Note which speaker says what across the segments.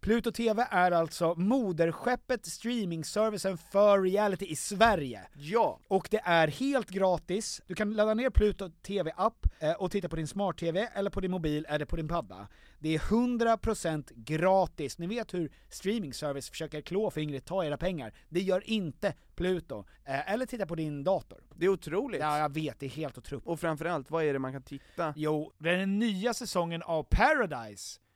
Speaker 1: Pluto TV är alltså moderskeppet streamingservicen för reality i Sverige.
Speaker 2: Ja!
Speaker 1: Och det är helt gratis. Du kan ladda ner Pluto TV-app eh, och titta på din smart-TV eller på din mobil eller på din padda. Det är 100% gratis. Ni vet hur streamingservice försöker klå fingret, ta era pengar. Det gör inte Pluto. Eh, Eller titta på din dator.
Speaker 2: Det är otroligt.
Speaker 1: Ja, jag vet, det är helt otroligt.
Speaker 2: Och framförallt, vad är det man kan titta?
Speaker 1: Jo, den nya säsongen av Paradise.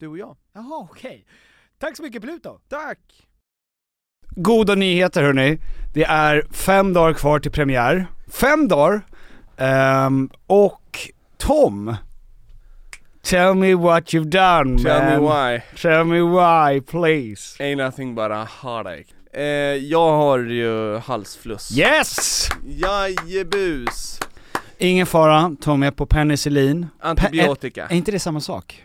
Speaker 2: Du och jag.
Speaker 1: Jaha, okej. Tack så mycket Pluto!
Speaker 2: Tack!
Speaker 3: Goda nyheter hörni. Det är fem dagar kvar till premiär. Fem dagar! Ehm, och Tom, tell me what you've done
Speaker 4: Tell
Speaker 3: man.
Speaker 4: me why,
Speaker 3: Tell me why please.
Speaker 4: ain't nothing but a heartache eh, Jag har ju halsfluss
Speaker 3: Yes!
Speaker 4: Jajebus!
Speaker 3: Ingen fara, Tom är på penicillin.
Speaker 4: Antibiotika,
Speaker 3: Är inte det samma sak?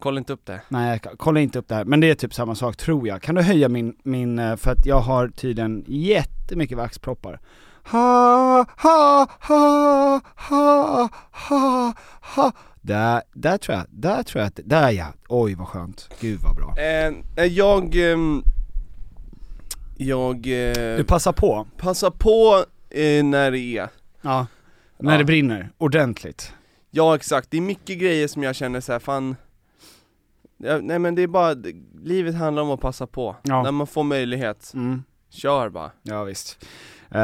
Speaker 4: kolla inte upp det
Speaker 3: Nej, jag kollar inte upp det här, men det är typ samma sak tror jag. Kan du höja min, min, eh, för att jag har tydligen jättemycket vaxproppar. Ha, ha, ha, ha, ha, ha. Där, där tror jag, där tror jag att, där ja. Oj vad skönt, gud vad bra.
Speaker 4: eh, nej, Jag... ehm, jag eh,
Speaker 3: Du passar på,
Speaker 4: passar på eh, när det är
Speaker 3: ja. När
Speaker 4: Ja.
Speaker 3: det brinner, ordentligt.
Speaker 4: Ja exakt, det är mycket grejer som jag känner så här, fan ja, Nej men det är bara, livet handlar om att passa på,
Speaker 3: Ja.
Speaker 4: när man får möjlighet,
Speaker 3: Mm.
Speaker 4: kör bara
Speaker 3: Ja visst. Eh,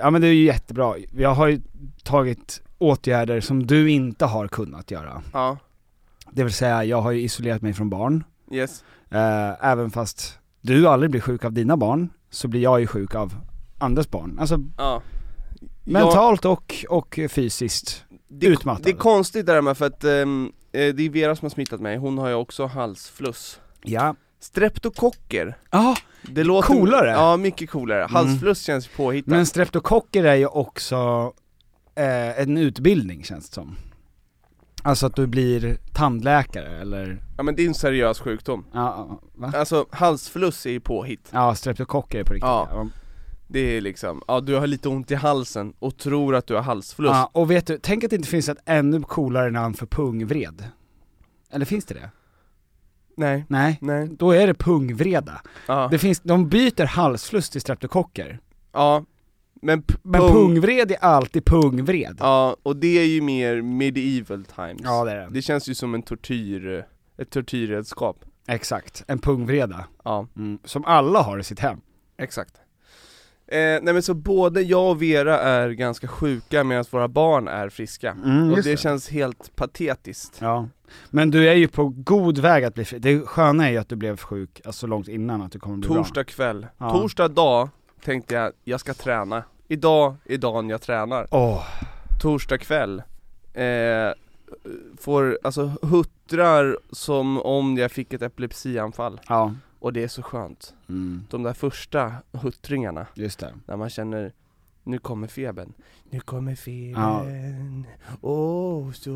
Speaker 3: ja men det är ju jättebra. Jag har ju tagit åtgärder som du inte har kunnat göra.
Speaker 4: Ja,
Speaker 3: Det vill säga, jag har ju isolerat mig från barn.
Speaker 4: yes
Speaker 3: Eh, även fast du aldrig blir sjuk av dina barn, så blir jag ju sjuk av andras barn. Alltså
Speaker 4: Ja
Speaker 3: mentalt och, och fysiskt.
Speaker 4: det,
Speaker 3: Utmattad.
Speaker 4: Det är konstigt det där med för att ehm, eh, det är Vera som har smittat mig, hon har ju också halsfluss
Speaker 3: Ja.
Speaker 4: Streptokocker,
Speaker 3: Ja,
Speaker 4: det låter
Speaker 3: Coolare. Mm.
Speaker 4: Ja, mycket coolare, halsfluss känns påhittat
Speaker 3: men streptokocker är ju också eh, en utbildning känns det som. Alltså att du blir tandläkare eller,
Speaker 4: Ja men det är en seriös sjukdom
Speaker 3: ja, va?
Speaker 4: Alltså halsfluss är ju påhitt,
Speaker 3: Ja, streptokocker är på riktigt.
Speaker 4: Ja.
Speaker 3: Ja.
Speaker 4: det är liksom, ja du har lite ont i halsen och tror att du har halsfluss
Speaker 3: Ja, och vet du, tänk att det inte finns ett ännu coolare namn för pungvred. Eller finns det det?
Speaker 4: Nej,
Speaker 3: Nej.
Speaker 4: nej,
Speaker 3: Då är det pungvreda.
Speaker 4: ja,
Speaker 3: Det finns, de byter halsfluss till streptokocker.
Speaker 4: ja men, p-
Speaker 3: Men
Speaker 4: pung-
Speaker 3: pungvred är alltid pungvred.
Speaker 4: Ja, och det är ju mer medieval times
Speaker 3: Ja, det är det.
Speaker 4: Det känns ju som en tortyr, ett tortyrredskap
Speaker 3: Exakt, en pungvreda.
Speaker 4: Ja,
Speaker 3: Mm. Som alla har i sitt hem.
Speaker 4: exakt Eh, nej men så både jag och Vera är ganska sjuka medan våra barn är friska.
Speaker 3: Mm,
Speaker 4: och
Speaker 3: just
Speaker 4: det,
Speaker 3: det.
Speaker 4: känns helt patetiskt.
Speaker 3: Ja. Men du är ju på god väg att bli frisk. Det sköna är ju att du blev sjuk, alltså långt innan att du kommer bli bra.
Speaker 4: Torsdag kväll,
Speaker 3: Ja.
Speaker 4: torsdag dag tänkte jag, jag ska träna. Idag är dagen jag tränar.
Speaker 3: Åh,
Speaker 4: Torsdag kväll, eh, får, alltså huttrar som om jag fick ett epilepsianfall.
Speaker 3: ja.
Speaker 4: Och det är så skönt.
Speaker 3: Mm,
Speaker 4: De där första huttringarna,
Speaker 3: just det.
Speaker 4: när man känner nu kommer febern. Nu kommer
Speaker 3: Ja.
Speaker 4: febern. Åh, så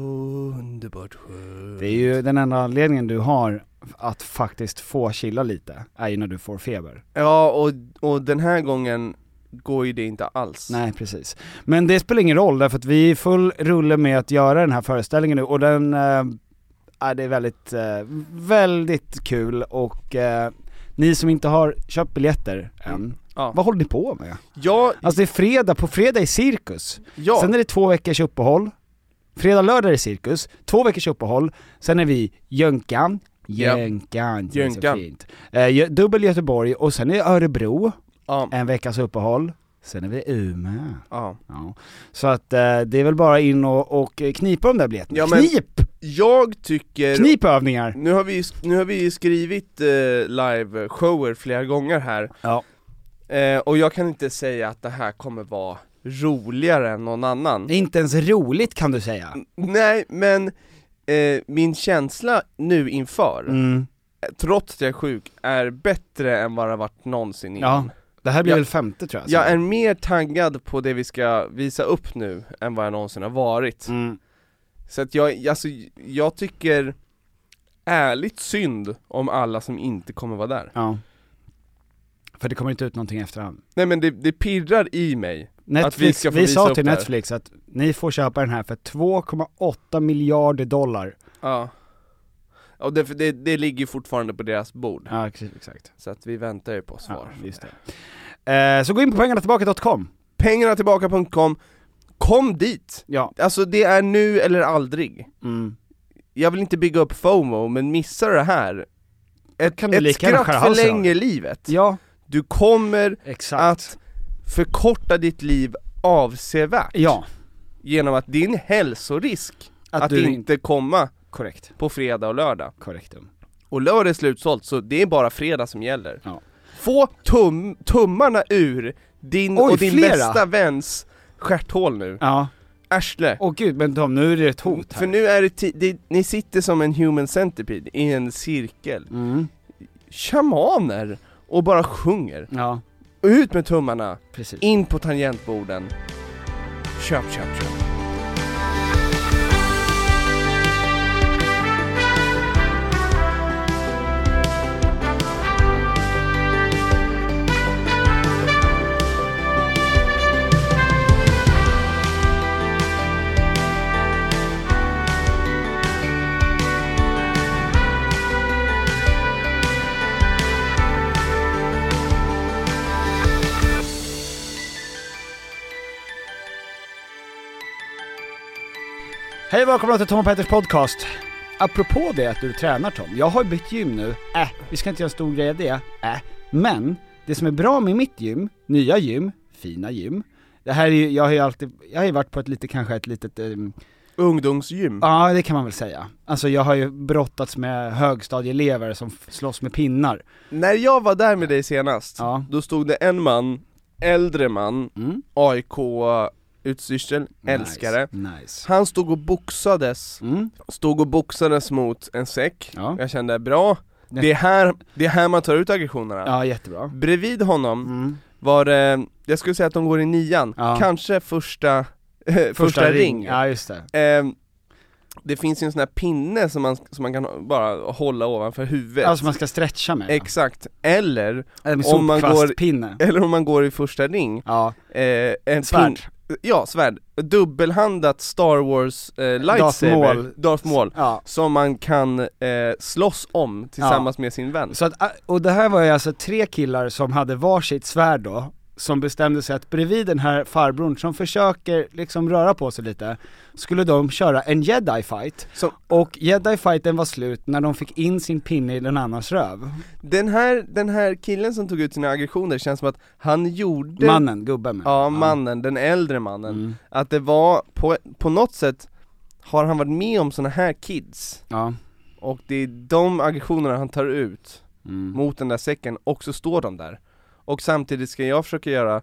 Speaker 4: underbart skönt.
Speaker 3: Det är ju den enda anledningen du har att faktiskt få chilla lite, är ju när du får feber.
Speaker 4: Ja, och, och den här gången går ju det inte alls.
Speaker 3: Nej precis. Men det spelar ingen roll därför att vi är i full rulle med att göra den här föreställningen nu och den, eh, är det är väldigt, eh, väldigt kul och eh, ni som inte har köpt biljetter än,
Speaker 4: Ja.
Speaker 3: vad håller ni på med?
Speaker 4: Ja,
Speaker 3: Alltså det är fredag, på fredag är cirkus.
Speaker 4: ja.
Speaker 3: Sen är det två veckors uppehåll. Fredag, lördag är det cirkus, två veckors uppehåll, sen är vi Jönkan,
Speaker 4: Ja.
Speaker 3: Jönkan, det är
Speaker 4: Jönkan.
Speaker 3: så fint. Eh, Gö- dubbel Göteborg och sen är Örebro,
Speaker 4: ja,
Speaker 3: en veckas uppehåll, sen är vi i Umeå.
Speaker 4: ja.
Speaker 3: Ja. Så att eh, det är väl bara in och, och knipa de där biljetterna.
Speaker 4: Ja, men-
Speaker 3: Knip!
Speaker 4: Jag tycker...
Speaker 3: Knipövningar!
Speaker 4: Nu har vi, nu har vi skrivit eh, live-shower flera gånger här.
Speaker 3: Ja.
Speaker 4: Eh, och jag kan inte säga att det här kommer vara roligare än någon annan.
Speaker 3: Det är inte ens roligt kan du säga.
Speaker 4: Nej, men eh, min känsla nu inför,
Speaker 3: Mm.
Speaker 4: trots att jag är sjuk, är bättre än vad det har varit någonsin
Speaker 3: Ja. alltså.
Speaker 4: innan.
Speaker 3: Det här blir
Speaker 4: Ja.
Speaker 3: väl femte tror jag.
Speaker 4: Jag är mer taggad på det vi ska visa upp nu än vad jag någonsin har varit.
Speaker 3: mm.
Speaker 4: Så att jag, alltså, jag tycker ärligt synd om alla som inte kommer vara där.
Speaker 3: Ja. För det kommer inte ut någonting i efterhand.
Speaker 4: Nej men det, det pirrar i mig.
Speaker 3: Netflix,
Speaker 4: vi ska få
Speaker 3: vi
Speaker 4: visa
Speaker 3: sa
Speaker 4: upp
Speaker 3: till
Speaker 4: det här.
Speaker 3: Netflix att ni får köpa den här för 2,8 miljarder dollar.
Speaker 4: Ja. Och det, för det, det ligger ju fortfarande på deras bord.
Speaker 3: Ja, exakt.
Speaker 4: Så att vi väntar ju på svar.
Speaker 3: Ja, just det. Eh, så gå in på pengarnatillbaka.com.
Speaker 4: Pengarna tillbaka.com, kom dit!
Speaker 3: Ja.
Speaker 4: Alltså det är nu eller aldrig.
Speaker 3: Mm.
Speaker 4: Jag vill inte bygga upp FOMO, men missar det här, ett,
Speaker 3: Kan du
Speaker 4: ett
Speaker 3: lika gärna
Speaker 4: skratt
Speaker 3: skära halsen av
Speaker 4: förlänger livet.
Speaker 3: Ja,
Speaker 4: Du kommer
Speaker 3: exakt.
Speaker 4: att förkorta ditt liv avsevärt.
Speaker 3: Ja,
Speaker 4: genom att din hälsorisk att,
Speaker 3: att, du inte...
Speaker 4: inte komma
Speaker 3: Korrekt.
Speaker 4: på fredag och lördag.
Speaker 3: Korrektum.
Speaker 4: Och lördag är slutsålt, så det är bara fredag som gäller.
Speaker 3: Ja.
Speaker 4: Få tum tummarna ur din
Speaker 3: Oj,
Speaker 4: och din
Speaker 3: flera.
Speaker 4: bästa väns stjärthål nu.
Speaker 3: Ja.
Speaker 4: Arsle.
Speaker 3: Åh gud, men Tom, nu är det ett hot här.
Speaker 4: För nu är det, ti- det, ni sitter som en human centipede i en cirkel.
Speaker 3: Mm.
Speaker 4: Shamaner! Och bara sjunger.
Speaker 3: Ja,
Speaker 4: Ut med tummarna,
Speaker 3: precis.
Speaker 4: in på tangentborden. Köp, köp, köp.
Speaker 3: Hej och välkomna till Tom och Petters podcast. Apropå det att du tränar Tom, jag har ju bytt gym nu. Äh, vi ska inte göra en stor grej av det. Äh. Men, det som är bra med mitt gym, nya gym, fina gym. Det här är ju, jag har ju alltid, jag har ju varit på ett lite, kanske ett litet ehm,
Speaker 4: Ungdomsgym.
Speaker 3: Ja, det kan man väl säga. Alltså jag har ju brottats med högstadieelever som f- slåss med pinnar.
Speaker 4: När jag var där med dig senast,
Speaker 3: Ja.
Speaker 4: då stod det en man, äldre man,
Speaker 3: Mm.
Speaker 4: AIK-utstyrsel, älskare
Speaker 3: Nice. nice.
Speaker 4: Han stod och boxades,
Speaker 3: Mm.
Speaker 4: stod och boxades mot en säck
Speaker 3: Ja.
Speaker 4: Jag kände, bra, det är, här, det är här man tar ut aggressionerna
Speaker 3: ja, jättebra.
Speaker 4: Bredvid honom
Speaker 3: Mm.
Speaker 4: var det, jag skulle säga att de går i nian,
Speaker 3: Ja.
Speaker 4: kanske första, första, ring,
Speaker 3: Ja, just det.
Speaker 4: Ehm, Det finns ju en sån här pinne som man, som man kan bara hålla ovanför huvudet
Speaker 3: Alltså man ska stretcha med.
Speaker 4: Exakt, eller,
Speaker 3: Eller med
Speaker 4: om man går-
Speaker 3: sopkvastpinne.
Speaker 4: eller om man går i första ring,
Speaker 3: Ja,
Speaker 4: eh, en
Speaker 3: svärd.
Speaker 4: Pin, ja, svärd. Dubbelhandat Star Wars eh, lightsaber,
Speaker 3: Darth
Speaker 4: Darth
Speaker 3: Maul.
Speaker 4: Maul.
Speaker 3: Ja.
Speaker 4: Som man kan eh, slåss om tillsammans med sin vän.
Speaker 3: äh, Så att, och det här var ju alltså tre killar som hade varsitt svärd då, som bestämde sig att bredvid den här farbrorn som försöker liksom röra på sig lite, skulle de köra en jedi fight.
Speaker 4: Som-
Speaker 3: Och jedi fighten var slut när de fick in sin pinne i den annans röv.
Speaker 4: Den här, den här killen som tog ut sina aggressioner känns som att han gjorde
Speaker 3: Mannen, gubben
Speaker 4: Ja, mannen, den äldre mannen.
Speaker 3: Mm.
Speaker 4: Att det var, på, på något sätt har han varit med om såna här kids
Speaker 3: Ja.
Speaker 4: och det är de aggressionerna han tar ut
Speaker 3: Mm.
Speaker 4: mot den där säcken och så står de där. Och samtidigt ska jag försöka göra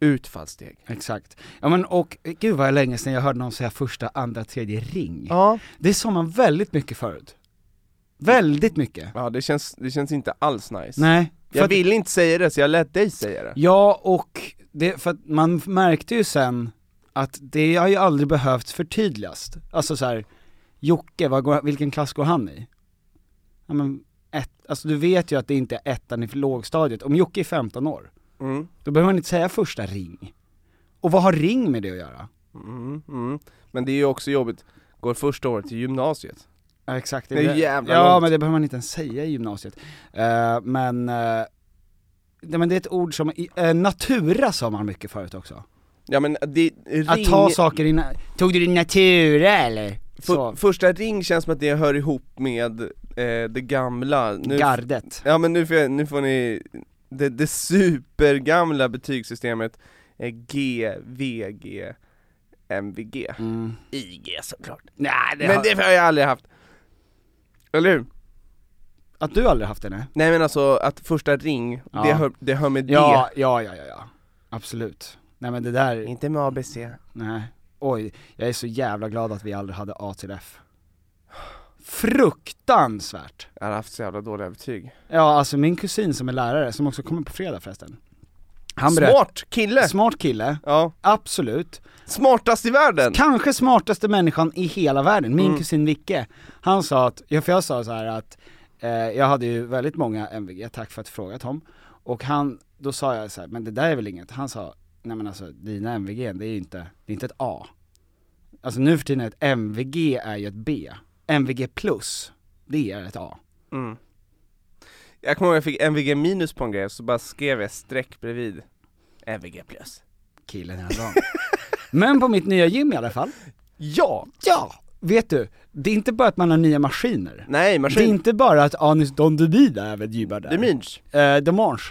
Speaker 4: utfallssteg.
Speaker 3: Exakt. Ja men och, gud vad länge sedan jag hörde någon säga första, andra, tredje ring.
Speaker 4: Ja.
Speaker 3: Det sa man väldigt mycket förut. Väldigt mycket.
Speaker 4: Ja det känns, det känns inte alls nice.
Speaker 3: Nej. för
Speaker 4: Jag
Speaker 3: att-
Speaker 4: ville inte säga det så jag lät dig säga det.
Speaker 3: Ja, och det, för att man märkte ju sen att det har ju aldrig behövt förtydligas. Alltså så här, Jocke, vad går, vilken klass går han i? Ja men, ett, alltså du vet ju att det inte är ettan i lågstadiet. Om Jocke är 15 år,
Speaker 4: Mm.
Speaker 3: då behöver man inte säga första ring. Och vad har ring med det att göra?
Speaker 4: Mm, mm. Men det är ju också jobbigt, går första året till gymnasiet.
Speaker 3: Ja, exakt.
Speaker 4: Det är jävla
Speaker 3: Ja
Speaker 4: långt.
Speaker 3: men det behöver man inte ens säga i gymnasiet. Eh, men, eh, nej, men det är ett ord som, i- eh, natura sa man mycket förut också.
Speaker 4: Ja men det, ring,
Speaker 3: Att ta saker i, na- tog du din natura eller?
Speaker 4: för,
Speaker 3: Så,
Speaker 4: första ring känns som att det hör ihop med eh, det gamla. Nu,
Speaker 3: gardet.
Speaker 4: Ja men nu får, jag, nu får ni, det, det supergamla betygssystemet är G, VG, MVG.
Speaker 3: Mm.
Speaker 4: IG såklart.
Speaker 3: Nej, det
Speaker 4: men
Speaker 3: har,
Speaker 4: det har jag aldrig haft. Eller hur?
Speaker 3: att du aldrig haft det nej?
Speaker 4: Nej men alltså att första ring,
Speaker 3: Ja.
Speaker 4: det, hör, det hör med
Speaker 3: Ja, ja, ja, ja, ja. Absolut. Nej men det
Speaker 4: det.
Speaker 3: där,
Speaker 4: Inte med ABC.
Speaker 3: nej. Oj, jag är så jävla glad att vi aldrig hade A till F. Fruktansvärt!
Speaker 4: Jag har haft så jävla dåliga betyg.
Speaker 3: Ja, alltså min kusin som är lärare, som också kommer på fredag förresten. Han berätt-
Speaker 4: Smart kille!
Speaker 3: Smart kille,
Speaker 4: ja,
Speaker 3: absolut.
Speaker 4: smartast i världen!
Speaker 3: Kanske smartaste människan i hela världen, min
Speaker 4: Mm.
Speaker 3: kusin Vicke. Han sa att, ja, för jag sa så här att, eh, jag hade ju väldigt många MVG, tack för att du frågat Tom. Och han, då sa jag så här, men det där är väl inget. Han sa, nej men alltså dina MVG, det är ju inte, det är inte ett A. Alltså nu för tiden är ett MVG är ju ett B. MVG plus, det är ett A.
Speaker 4: Mm. Jag kommer ihåg jag fick MVG minus på en grej, så bara skrev jag streck bredvid MVG plus.
Speaker 3: Killen är bra. men på mitt nya gym i alla fall.
Speaker 4: Ja!
Speaker 3: Ja! Vet du, det är inte bara att man har nya maskiner.
Speaker 4: Nej,
Speaker 3: Det är
Speaker 4: maskin.
Speaker 3: inte bara att Anis Don Demina även jobbar där.
Speaker 4: Det är minch.
Speaker 3: Eh, Demange.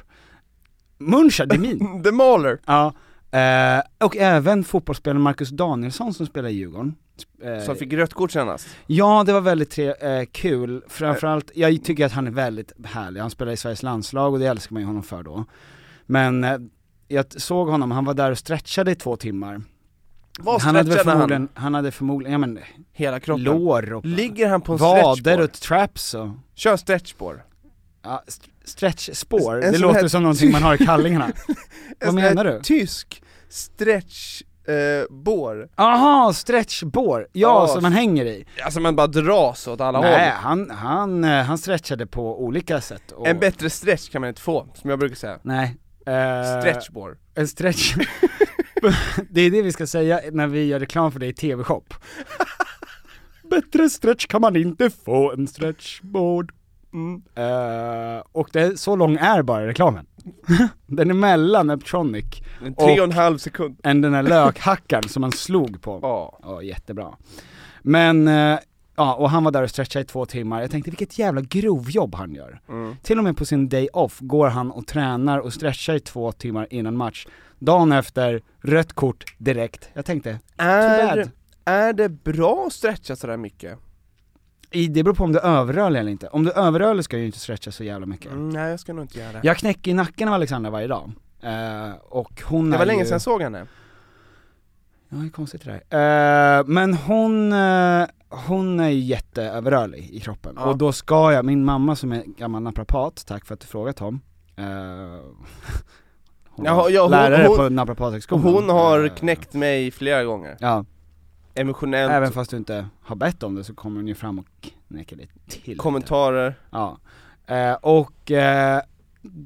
Speaker 3: Muncha Demin.
Speaker 4: The Mauler.
Speaker 3: ja. Eh, och även fotbollsspelaren Marcus Danielsson som spelar i Djurgården. Eh,
Speaker 4: Som fick rött kort senast.
Speaker 3: Ja, det var väldigt tre, eh, kul. Framförallt, jag tycker att han är väldigt härlig. Han spelar i Sveriges landslag och det älskar man ju honom för då. Men eh, jag t- såg honom, han var där och stretchade i två timmar.
Speaker 4: Vad
Speaker 3: han hade väl
Speaker 4: stretchade
Speaker 3: förmodligen,
Speaker 4: han?
Speaker 3: han? hade förmodligen, ja men,
Speaker 4: Hela kroppen.
Speaker 3: lår och
Speaker 4: Ligger han på en
Speaker 3: vader
Speaker 4: stretchbar?
Speaker 3: och traps och
Speaker 4: Kör stretchbar.
Speaker 3: Ja, st- stretchspår,
Speaker 4: En
Speaker 3: det
Speaker 4: sån
Speaker 3: låter
Speaker 4: här-
Speaker 3: som någonting man har i kallingarna.
Speaker 4: En sån
Speaker 3: menar
Speaker 4: här
Speaker 3: du?
Speaker 4: Tysk stretchbår.
Speaker 3: Aha, stretchbår, ja
Speaker 4: Ja,
Speaker 3: som man hänger i.
Speaker 4: Alltså man bara dras åt alla
Speaker 3: Nej,
Speaker 4: håll.
Speaker 3: han, han, eh, han stretchade på olika sätt och...
Speaker 4: En bättre stretch kan man inte få, som jag brukar säga.
Speaker 3: Nej. eh,
Speaker 4: Stretchbår.
Speaker 3: En stretch. det är det vi ska säga när vi gör reklam för dig i TV-shop. Bättre stretch kan man inte få än stretchboard. Mm. Eh, och det, är- så lång är bara reklamen. Den är mellan Eptronic
Speaker 4: En tre
Speaker 3: och
Speaker 4: och en halv sekund.
Speaker 3: än den där lökhackaren som man slog på.
Speaker 4: Ja.
Speaker 3: Ja, jättebra. Men, eh, ja och han var där och stretchade i två timmar, jag tänkte vilket jävla grovjobb han gör.
Speaker 4: Mm.
Speaker 3: Till och med på sin day off går han och tränar och stretchar i två timmar innan match. Dagen efter, rött kort direkt. Jag tänkte, Too
Speaker 4: Är,
Speaker 3: bad.
Speaker 4: är det bra att stretcha sådär mycket?
Speaker 3: i- det beror på om du överrörlig eller inte. Om du överrörlig ska du ju inte stretcha så jävla mycket.
Speaker 4: Mm, nej jag ska nog inte göra det.
Speaker 3: Jag knäcker i nacken av Alexandra varje dag. Eh, och hon
Speaker 4: det
Speaker 3: är
Speaker 4: var länge
Speaker 3: ju...
Speaker 4: sedan jag såg henne.
Speaker 3: Ja, det är konstigt det där. Eh, men hon, eh, hon är ju jätteöverrörlig i kroppen.
Speaker 4: Ja.
Speaker 3: Och då ska jag, min mamma som är gammal naprapat, tack för att du frågat Tom. Eh, hon
Speaker 4: Ja,
Speaker 3: är
Speaker 4: ja, hon-
Speaker 3: lärare
Speaker 4: hon-
Speaker 3: på naprapathögskolan.
Speaker 4: Hon har
Speaker 3: Eh,
Speaker 4: knäckt mig flera gånger.
Speaker 3: Ja,
Speaker 4: Emotionellt,
Speaker 3: även fast du inte har bett om det så kommer hon ju fram och knäcker dig till.
Speaker 4: kommentarer.
Speaker 3: Ja. Eh, och eh,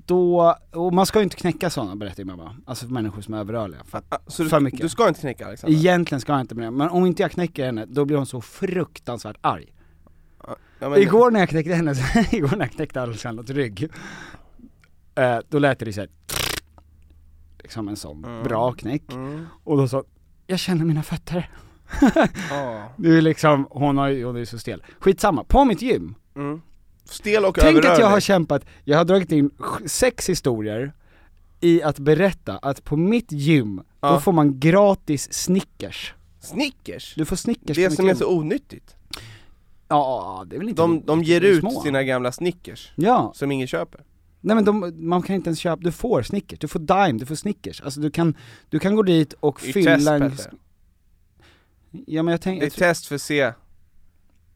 Speaker 3: då, och man ska ju inte knäcka sådana berättar ju mamma. Alltså för människor som är överrörliga. För att
Speaker 4: Ah, Så
Speaker 3: För
Speaker 4: du,
Speaker 3: mycket.
Speaker 4: du ska inte knäcka Alexander?
Speaker 3: Egentligen ska jag inte med det, men om inte jag knäcker henne, då blir hon så fruktansvärt arg.
Speaker 4: Ja, men-
Speaker 3: Igår när jag knäckte henne, igår när jag knäckte Alexandras rygg, eh, då lät det ju såhär liksom en sån
Speaker 4: Mm.
Speaker 3: bra knäck.
Speaker 4: Mm.
Speaker 3: Och då sa jag känner mina fötter.
Speaker 4: Ja.
Speaker 3: Det är liksom, hon, har, ju- hon är ju så stel. Skitsamma, på mitt gym.
Speaker 4: Mm. Stel och
Speaker 3: Tänk
Speaker 4: överrörlig.
Speaker 3: att jag har kämpat, jag har dragit in sj- sex historier i att berätta att på mitt gym, då
Speaker 4: Ja.
Speaker 3: får man gratis Snickers.
Speaker 4: Snickers!
Speaker 3: Du får Snickers på
Speaker 4: Det
Speaker 3: mitt
Speaker 4: som är
Speaker 3: gym.
Speaker 4: så onyttigt.
Speaker 3: Ja, det är väl inte
Speaker 4: De, de ger
Speaker 3: de är
Speaker 4: ut
Speaker 3: små.
Speaker 4: sina gamla Snickers,
Speaker 3: Ja,
Speaker 4: som ingen köper.
Speaker 3: nej men de, man kan inte ens köpa, du får Snickers, du får Dime, du får Snickers. Alltså du kan, du kan gå dit och
Speaker 4: I test
Speaker 3: fylla en...
Speaker 4: Petter.
Speaker 3: Ja men jag
Speaker 4: Det är
Speaker 3: tänker,
Speaker 4: test för att se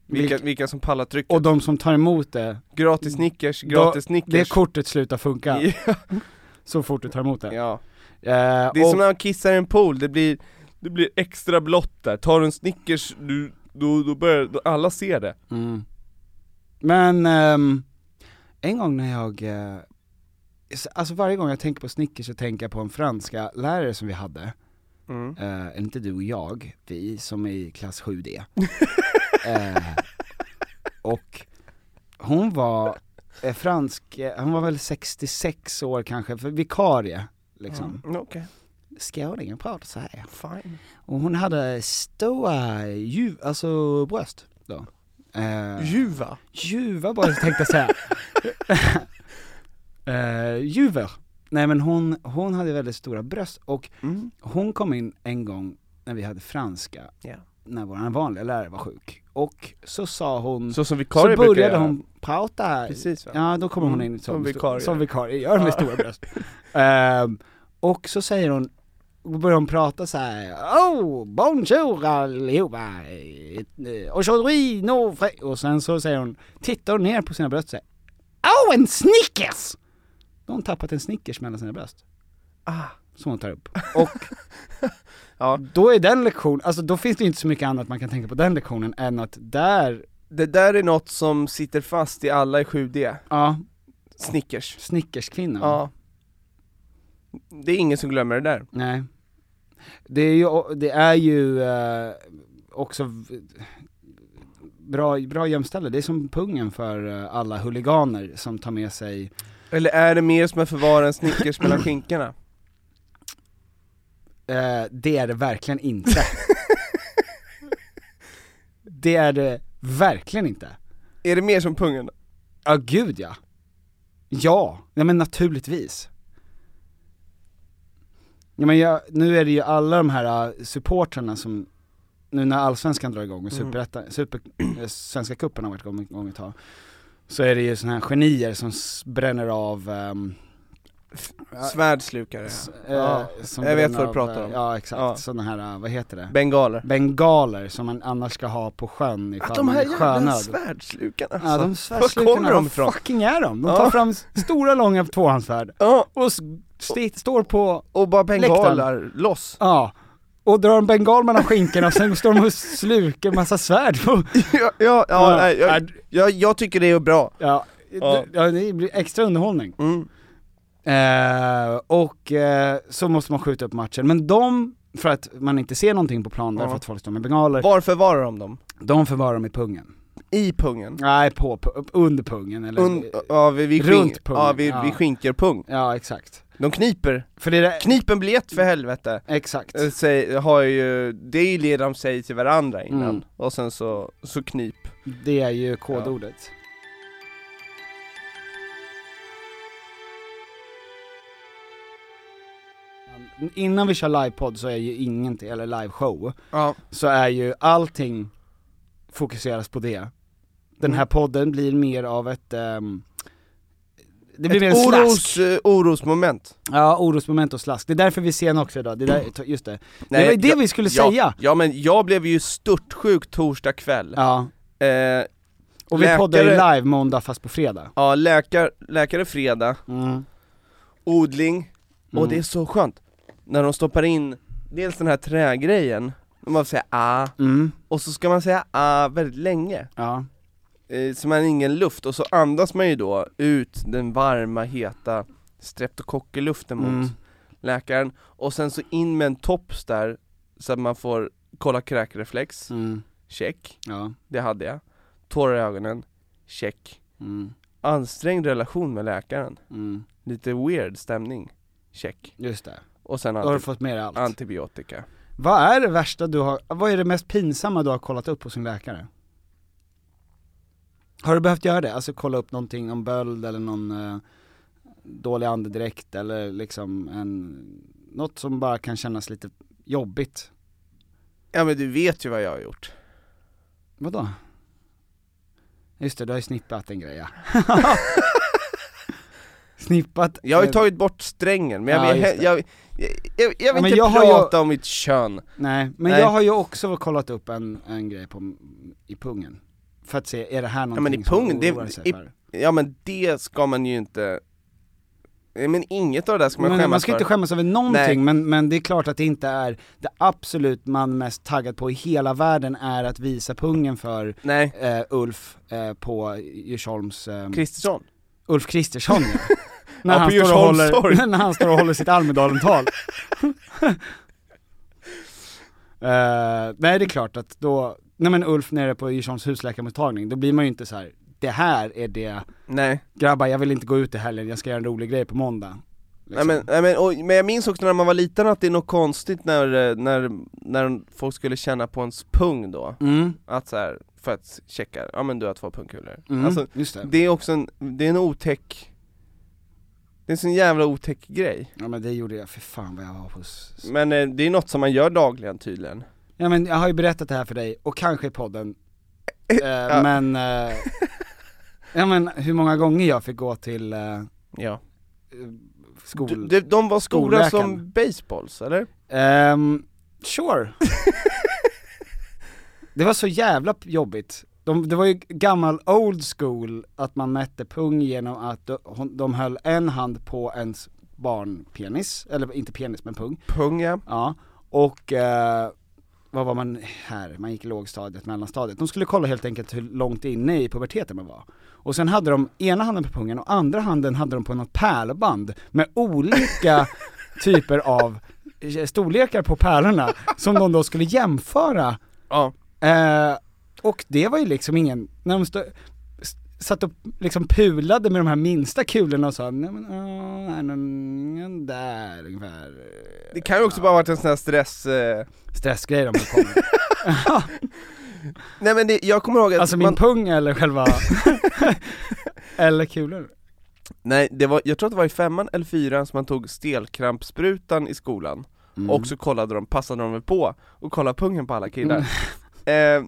Speaker 4: vilka, vilka som pallar trycket.
Speaker 3: och de som tar emot det,
Speaker 4: Gratis Snickers,
Speaker 3: Då-
Speaker 4: gratis Snickers.
Speaker 3: det kortet slutar funka så fort du tar emot det.
Speaker 4: Ja.
Speaker 3: Eh,
Speaker 4: Det är
Speaker 3: och-
Speaker 4: som när man kissar i en pool, det blir, det blir extra blått där. Tar du en Snickers, du, då, då börjar, då alla ser det.
Speaker 3: Mm. Men ehm, en gång när jag, eh, s- alltså varje gång jag tänker på Snickers så tänker jag på en franska lärare som vi hade, Eh, inte du och jag, vi som är i klass 7D. eh, och hon var eh, fransk, eh, hon var väl 66 år kanske, för vikarie liksom.
Speaker 4: Mm, Okej,
Speaker 3: Skåningen pratar så här.
Speaker 4: fine.
Speaker 3: Och hon hade stora, ljuv, alltså bröst då. Eh,
Speaker 4: Ljuva.
Speaker 3: Ljuva bara tänkte jag säga. uh, ljuver. Nej men hon, hon hade väldigt stora bröst och
Speaker 4: Mm.
Speaker 3: hon kom in en gång när vi hade franska,
Speaker 4: Ja.
Speaker 3: när vår vanliga lärare var sjuk. Och så sa hon, Mm.
Speaker 4: Så
Speaker 3: så,
Speaker 4: som vikarie brukar
Speaker 3: började
Speaker 4: göra.
Speaker 3: hon prata,
Speaker 4: Precis va?
Speaker 3: ja då kommer hon
Speaker 4: Mm,
Speaker 3: in som,
Speaker 4: som
Speaker 3: sto-
Speaker 4: vikarie.
Speaker 3: som vikarie gör med
Speaker 4: Ja.
Speaker 3: stora bröst. Ehm, och så säger hon, och börjar hon prata så här. Oh, bonjour allihopa! Eh, Aujourd'hui, no fri-" Och sen så säger hon, tittar hon ner på sina bröst och säger Oh, en Snickers! Då har hon tappat en Snickers mellan sina bröst.
Speaker 4: Ah.
Speaker 3: Som hon tar upp. Och
Speaker 4: Ja.
Speaker 3: då är den lektionen, alltså då finns det ju inte så mycket annat man kan tänka på den lektionen än att där,
Speaker 4: Det där är något som sitter fast i alla i 7D.
Speaker 3: ja,
Speaker 4: Snickers.
Speaker 3: Snickerskvinnan.
Speaker 4: Ja. Det är ingen som glömmer det där.
Speaker 3: Nej. Det är ju, det är ju eh, också v- bra, bra gömställe, det är som pungen för eh, alla huliganer som tar med sig
Speaker 4: Eller är det mer som att förvara en Snickers mellan skinkorna?
Speaker 3: Eh, det är det verkligen inte. det är det verkligen inte.
Speaker 4: Är det mer som pungen?
Speaker 3: Ja, gud ja. Ja, nej men naturligtvis. Ja, men jag, nu är det ju alla de här äh, supportrarna som, nu när allsvenskan drar igång och
Speaker 4: Mm.
Speaker 3: superettan, super, eh, svenska cupen har varit igång, igång ett tag, så är det ju såna här genier som s- bränner av, ehm,
Speaker 4: Svärdslukare.
Speaker 3: s-
Speaker 4: Ja,
Speaker 3: eh, som
Speaker 4: jag vet
Speaker 3: bränner
Speaker 4: vad du
Speaker 3: av,
Speaker 4: pratar
Speaker 3: eh,
Speaker 4: om.
Speaker 3: Ja exakt,
Speaker 4: Ja.
Speaker 3: sådana här, äh, vad heter det?
Speaker 4: Bengaler.
Speaker 3: Bengaler som man annars ska ha på sjön ifall
Speaker 4: Att de här
Speaker 3: man är
Speaker 4: jävla
Speaker 3: sjönöd.
Speaker 4: svärdslukarna
Speaker 3: Ja de
Speaker 4: Alltså, Var kommer
Speaker 3: svärslukarna,
Speaker 4: de
Speaker 3: vad
Speaker 4: ifrån?
Speaker 3: fucking är de? De
Speaker 4: Ja.
Speaker 3: tar fram s- stora långa tvåhandsvärd
Speaker 4: Ja,
Speaker 3: och s- sti- står på,
Speaker 4: och bara bengalar
Speaker 3: Läktaren.
Speaker 4: loss.
Speaker 3: ja, och drar en bengal mellan skinkorna och sen står de och slukar massa svärd på,
Speaker 4: Ja, ja, ja,
Speaker 3: Ja.
Speaker 4: nej, jag, jag, jag tycker det är bra.
Speaker 3: ja,
Speaker 4: Ja.
Speaker 3: d- ja det blir extra underhållning.
Speaker 4: Mm.
Speaker 3: Eh, och eh, så måste man skjuta upp matchen, men de, för att man inte ser någonting på plan därför
Speaker 4: Ja.
Speaker 3: att folk står med bengaler,
Speaker 4: Varför varar de dem?
Speaker 3: de förvarar dem i pungen.
Speaker 4: I pungen?
Speaker 3: Nej, på, pu- under pungen eller,
Speaker 4: Und, ja, vid, vid,
Speaker 3: Runt
Speaker 4: skink-
Speaker 3: pungen,
Speaker 4: ja, vid,
Speaker 3: ja.
Speaker 4: vid skinkerpung.
Speaker 3: ja exakt.
Speaker 4: De kniper.
Speaker 3: För det är,
Speaker 4: Knip en biljett för helvete.
Speaker 3: exakt.
Speaker 4: Eh, Säg, har ju, det är ju det de säger till varandra innan.
Speaker 3: Mm.
Speaker 4: Och sen så, så knip.
Speaker 3: Det är ju kodordet. Innan vi kör livepodd så är ju ingenting, eller liveshow,
Speaker 4: Ja.
Speaker 3: så är ju allting fokuseras på det. Den
Speaker 4: Mm.
Speaker 3: här podden blir mer av ett, ehm, det blir mer en
Speaker 4: Oros,
Speaker 3: slask.
Speaker 4: eh, orosmoment.
Speaker 3: Ja, orosmoment och slask. Det är därför vi ser en också idag, det är där, just det. det var ju det
Speaker 4: jag-
Speaker 3: vi skulle
Speaker 4: ja,
Speaker 3: säga!
Speaker 4: Ja men jag blev ju störtsjuk torsdag kväll.
Speaker 3: Ja,
Speaker 4: Eh,
Speaker 3: och vi poddar ju
Speaker 4: Läkare-
Speaker 3: live måndag fast på fredag.
Speaker 4: ja läkar, läkare fredag,
Speaker 3: Mm.
Speaker 4: odling,
Speaker 3: Mm.
Speaker 4: och det är så skönt när de stoppar in dels den här trägrejen, man får säga ah,
Speaker 3: Mm,
Speaker 4: och så ska man säga ah väldigt länge,
Speaker 3: ja.
Speaker 4: eh, så man har ingen luft, och så andas man ju då ut den varma, heta streptokockeluften mot
Speaker 3: Mm.
Speaker 4: läkaren, och sen så in med en tops där, så att man får kolla kräkreflex,
Speaker 3: Mm,
Speaker 4: check,
Speaker 3: ja.
Speaker 4: det hade jag, tårar i ögonen, check,
Speaker 3: Mm,
Speaker 4: ansträngd relation med läkaren,
Speaker 3: mm.
Speaker 4: lite weird stämning, check.
Speaker 3: Just det.
Speaker 4: och sen
Speaker 3: Då har du
Speaker 4: anti-
Speaker 3: fått med dig allt.
Speaker 4: antibiotika.
Speaker 3: Vad är det värsta du har, vad är det mest pinsamma du har kollat upp hos din läkare? Har du behövt göra det? Alltså kolla upp någonting om böld eller någon eh, dålig andedräkt eller liksom en, något som bara kan kännas lite jobbigt?
Speaker 4: Ja men du vet ju vad jag har gjort.
Speaker 3: Vadå? Just det, du har ju snippat en grej ja. Snippat
Speaker 4: Jag har ju
Speaker 3: eh,
Speaker 4: tagit bort strängen, men jag
Speaker 3: Ja,
Speaker 4: vill,
Speaker 3: just
Speaker 4: he-
Speaker 3: det.
Speaker 4: jag, jag, jag, jag
Speaker 3: Ja,
Speaker 4: vill
Speaker 3: men
Speaker 4: inte
Speaker 3: jag har ju-
Speaker 4: prata om mitt kön.
Speaker 3: Nej, men
Speaker 4: Nej.
Speaker 3: jag har ju också kollat upp en, en grej på, i pungen. För att se, är det här
Speaker 4: i
Speaker 3: någonting
Speaker 4: pungen, det-
Speaker 3: som oroar sig
Speaker 4: i-
Speaker 3: för?
Speaker 4: Ja men det ska man ju inte, Nej, men inget av det där ska man
Speaker 3: Men
Speaker 4: skämmas
Speaker 3: man ska
Speaker 4: för.
Speaker 3: inte skämmas över
Speaker 4: Nej.
Speaker 3: någonting, men, men det är klart att det inte är det absolut man mest taggad på i hela världen är att visa pungen för
Speaker 4: Nej,
Speaker 3: eh, Ulf eh, på Djursholms, eh,
Speaker 4: Kristersson.
Speaker 3: Ulf Kristersson ja. när,
Speaker 4: Ja,
Speaker 3: han
Speaker 4: på
Speaker 3: står och
Speaker 4: Djursholms
Speaker 3: håller,
Speaker 4: torg.
Speaker 3: när han står och håller sitt Almedalen-tal. Eh, nej det är klart att då, nej men Ulf nere på Djursholms husläkarmottagning, då blir man ju inte så här. det här är det,
Speaker 4: Nej.
Speaker 3: grabbar jag vill inte gå ut i helgen, jag ska göra en rolig grej på måndag.
Speaker 4: Nej,
Speaker 3: Liksom.
Speaker 4: men, nej, men, och, men jag minns också när man var liten att det är något konstigt när, eh, när, när folk skulle känna på ens pung då,
Speaker 3: Mm,
Speaker 4: att så här, för att checka, ja men du har två pungkulor.
Speaker 3: mm,
Speaker 4: Alltså,
Speaker 3: just det.
Speaker 4: det är också en, det är en otäck, det är en sån jävla otäck grej.
Speaker 3: Ja men det gjorde jag, för fan vad jag var hos
Speaker 4: Men eh, det är något som man gör dagligen tydligen.
Speaker 3: Ja men jag har ju berättat det här för dig, och kanske i podden, eh, men, eh, ja men hur många gånger jag fick gå till eh,
Speaker 4: Ja.
Speaker 3: skol...
Speaker 4: Du, de, de var stora
Speaker 3: Skolläkaren.
Speaker 4: som baseballs eller?
Speaker 3: Ehm, sure. det var så jävla p- jobbigt. De, det var ju gammal old school att man mätte pung genom att de, hon- de höll en hand på ens barnpenis, eller inte penis men pung,
Speaker 4: Pung ja.
Speaker 3: ja. Och eh, vad var man här? Man gick i lågstadiet, mellanstadiet. De skulle kolla helt enkelt hur långt inne i puberteten man var. Och sen hade de ena handen på pungen och andra handen hade de på något pärlband med olika typer av eh, storlekar på pärlorna som de då skulle jämföra.
Speaker 4: Ja.
Speaker 3: Eh, och det var ju liksom ingen, när de stod, satt och liksom pulade med de här minsta kulorna och sa nej men, åh, nej, men där ungefär.
Speaker 4: Det kan ju också bara ha varit en sån här stress... Eh...
Speaker 3: Stressgrej de höll på med.
Speaker 4: Nej men det, jag kommer ihåg att
Speaker 3: Alltså min
Speaker 4: man...
Speaker 3: pung eller själva... eller kulor.
Speaker 4: Nej, det var, jag tror att det var i femman eller fyran som man tog stelkrampsprutan i skolan Och så kollade de, passade de väl på och kollade pungen på alla killar eh,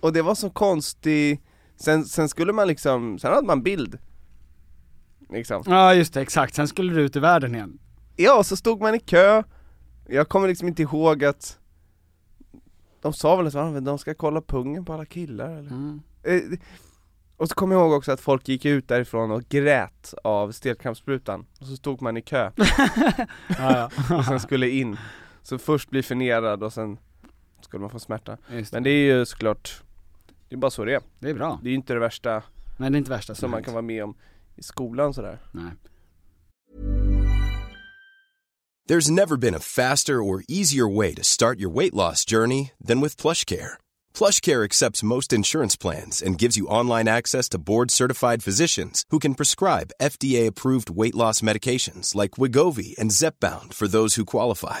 Speaker 4: Och det var så konstig sen, sen skulle man liksom, sen hade man bild Liksom
Speaker 3: Ja just det, exakt. Sen skulle du ut i världen igen.
Speaker 4: Ja, och så stod man i kö Jag kommer liksom inte ihåg att De sa väl att "Ja, men de ska kolla pungen på alla killar eller? Eh, Och så kommer jag ihåg också att folk gick ut därifrån och grät av stelkrampssprutan Och så stod man i kö
Speaker 3: Ja,
Speaker 4: och sen skulle in Så först bli förnedrad och sen skulle man få smärta
Speaker 3: ja. Just det.
Speaker 4: Men det är ju såklart Det är bara så det är,
Speaker 3: det är bra.
Speaker 4: det är ju inte det värsta
Speaker 3: Nej det är inte värsta
Speaker 2: Alltså,
Speaker 4: som man
Speaker 3: hänt.
Speaker 4: kan vara med om i skolan sådär
Speaker 3: Nej.
Speaker 5: There's never been a faster or easier way to start your weight loss journey than with PlushCare. PlushCare accepts most insurance plans and gives you online access to board-certified physicians who can prescribe FDA-approved weight loss medications like Wigovi and Zepbound for those who qualify.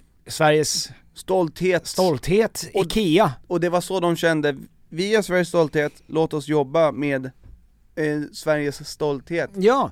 Speaker 1: Sveriges
Speaker 2: Stolthet.
Speaker 1: stolthet, IKEA.
Speaker 2: Och det var så de kände, vi är Sveriges stolthet, låt oss jobba med eh, Sveriges stolthet.
Speaker 1: Ja,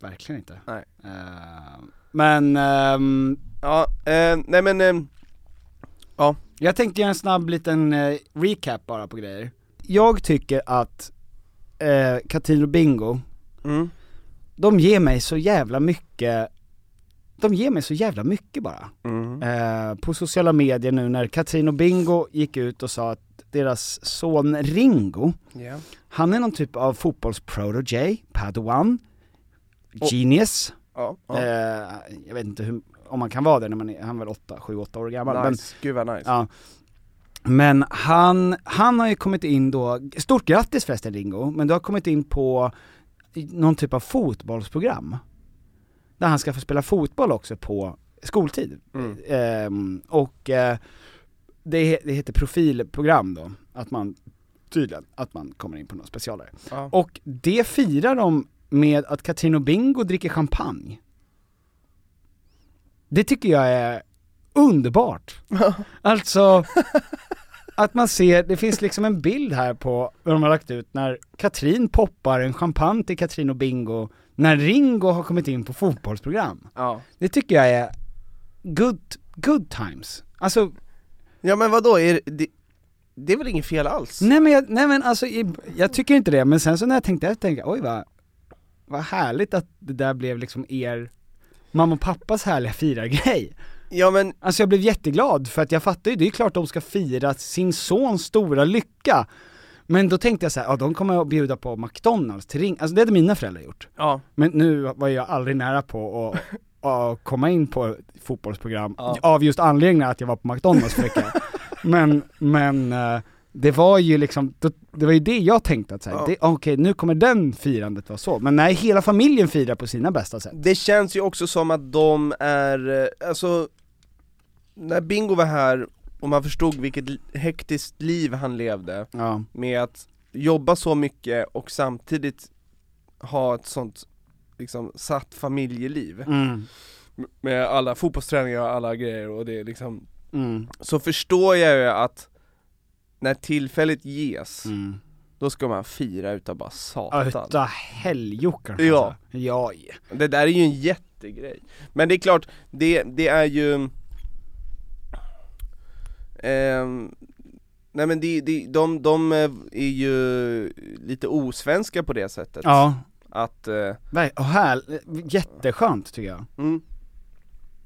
Speaker 3: verkligen inte.
Speaker 2: Nej.
Speaker 3: Eh, men ehm,
Speaker 4: Ja, eh, nej men, eh,
Speaker 3: jag tänkte göra en snabb liten eh, recap bara på grejer. Jag tycker att eh, Katrin och Bingo,
Speaker 2: Mm.
Speaker 3: de ger mig så jävla mycket, de ger mig så jävla mycket bara.
Speaker 4: mm.
Speaker 3: eh, på sociala medier nu när Katrin och Bingo gick ut och sa att deras son Ringo,
Speaker 2: Ja.
Speaker 3: han är någon typ av fotbollsprotege, padawan,
Speaker 2: Och-
Speaker 3: genius,
Speaker 2: Ja, ja.
Speaker 3: eh, jag vet inte hur, om man kan vara det när man är, han är väl 8, 7, 8 år gammal. Men,
Speaker 4: nice, gud vad nice.
Speaker 3: ja. men han, han har ju kommit in då, stort grattis förresten Ringo, men du har kommit in på någon typ av fotbollsprogram. Där han ska få spela fotboll också på skoltid.
Speaker 4: Mm.
Speaker 3: Ehm, och eh, det, he- det heter profilprogram då, att man tydligen, att man kommer in på något specialare.
Speaker 4: Ja.
Speaker 3: Och det firar de med att Katrin och Bingo dricker champagne. Det tycker jag är underbart. alltså, att man ser, det finns liksom en bild här på hur de har lagt ut när Katrin poppar en champagne till Katrin och Bingo när Ringo har kommit in på fotbollsprogram.
Speaker 4: Ja.
Speaker 3: Det tycker jag är good, good times. Alltså,
Speaker 4: ja men vadå, är det, det, det är väl inget fel alls?
Speaker 3: nej men, jag, nej men alltså, i- jag tycker inte det, men sen så när jag tänkte efter, tänkte jag, oj vad, vad härligt att det där blev liksom er mamma och pappas härliga firargrej.
Speaker 4: Ja men,
Speaker 3: Alltså jag blev jätteglad för att jag fattar ju, det är klart de ska fira sin sons stora lycka. Men då tänkte jag så här, ja de kommer att bjuda på McDonalds till ring, alltså det hade mina föräldrar gjort.
Speaker 4: ja.
Speaker 3: Men nu var jag aldrig nära på att att komma in på ett fotbollsprogram, av just anledningen att jag var på McDonalds för veckan. Men, men eh, det var ju liksom, då- det var ju det jag tänkte att säga.
Speaker 4: Ja.
Speaker 3: okej nu kommer den firandet vara så, men nej hela familjen firar på sina bästa sätt.
Speaker 4: Det känns ju också som att de är, eh, alltså När Bingo var här och man förstod vilket l- hektiskt liv han levde
Speaker 3: Ja.
Speaker 4: med att jobba så mycket och samtidigt ha ett sånt liksom satt familjeliv
Speaker 3: Mm.
Speaker 4: M- med alla fotbollsträningar och alla grejer och det är liksom
Speaker 3: Mm.
Speaker 4: Så förstår jag ju att när tillfället ges,
Speaker 3: Mm.
Speaker 4: då ska man fira utav bara
Speaker 3: Ja,
Speaker 4: satan
Speaker 3: Utta helgjockarna
Speaker 4: Ja.
Speaker 3: alltså. Ja. ja.
Speaker 4: Det där är ju en jättegrej. Men det är klart, det, det är ju ehm, Nej men de, de, de, de eh, är ju lite osvenska på det sättet
Speaker 3: Ja,
Speaker 4: Att, eh,
Speaker 3: ver- och här, jätteskönt tycker jag.
Speaker 4: mm,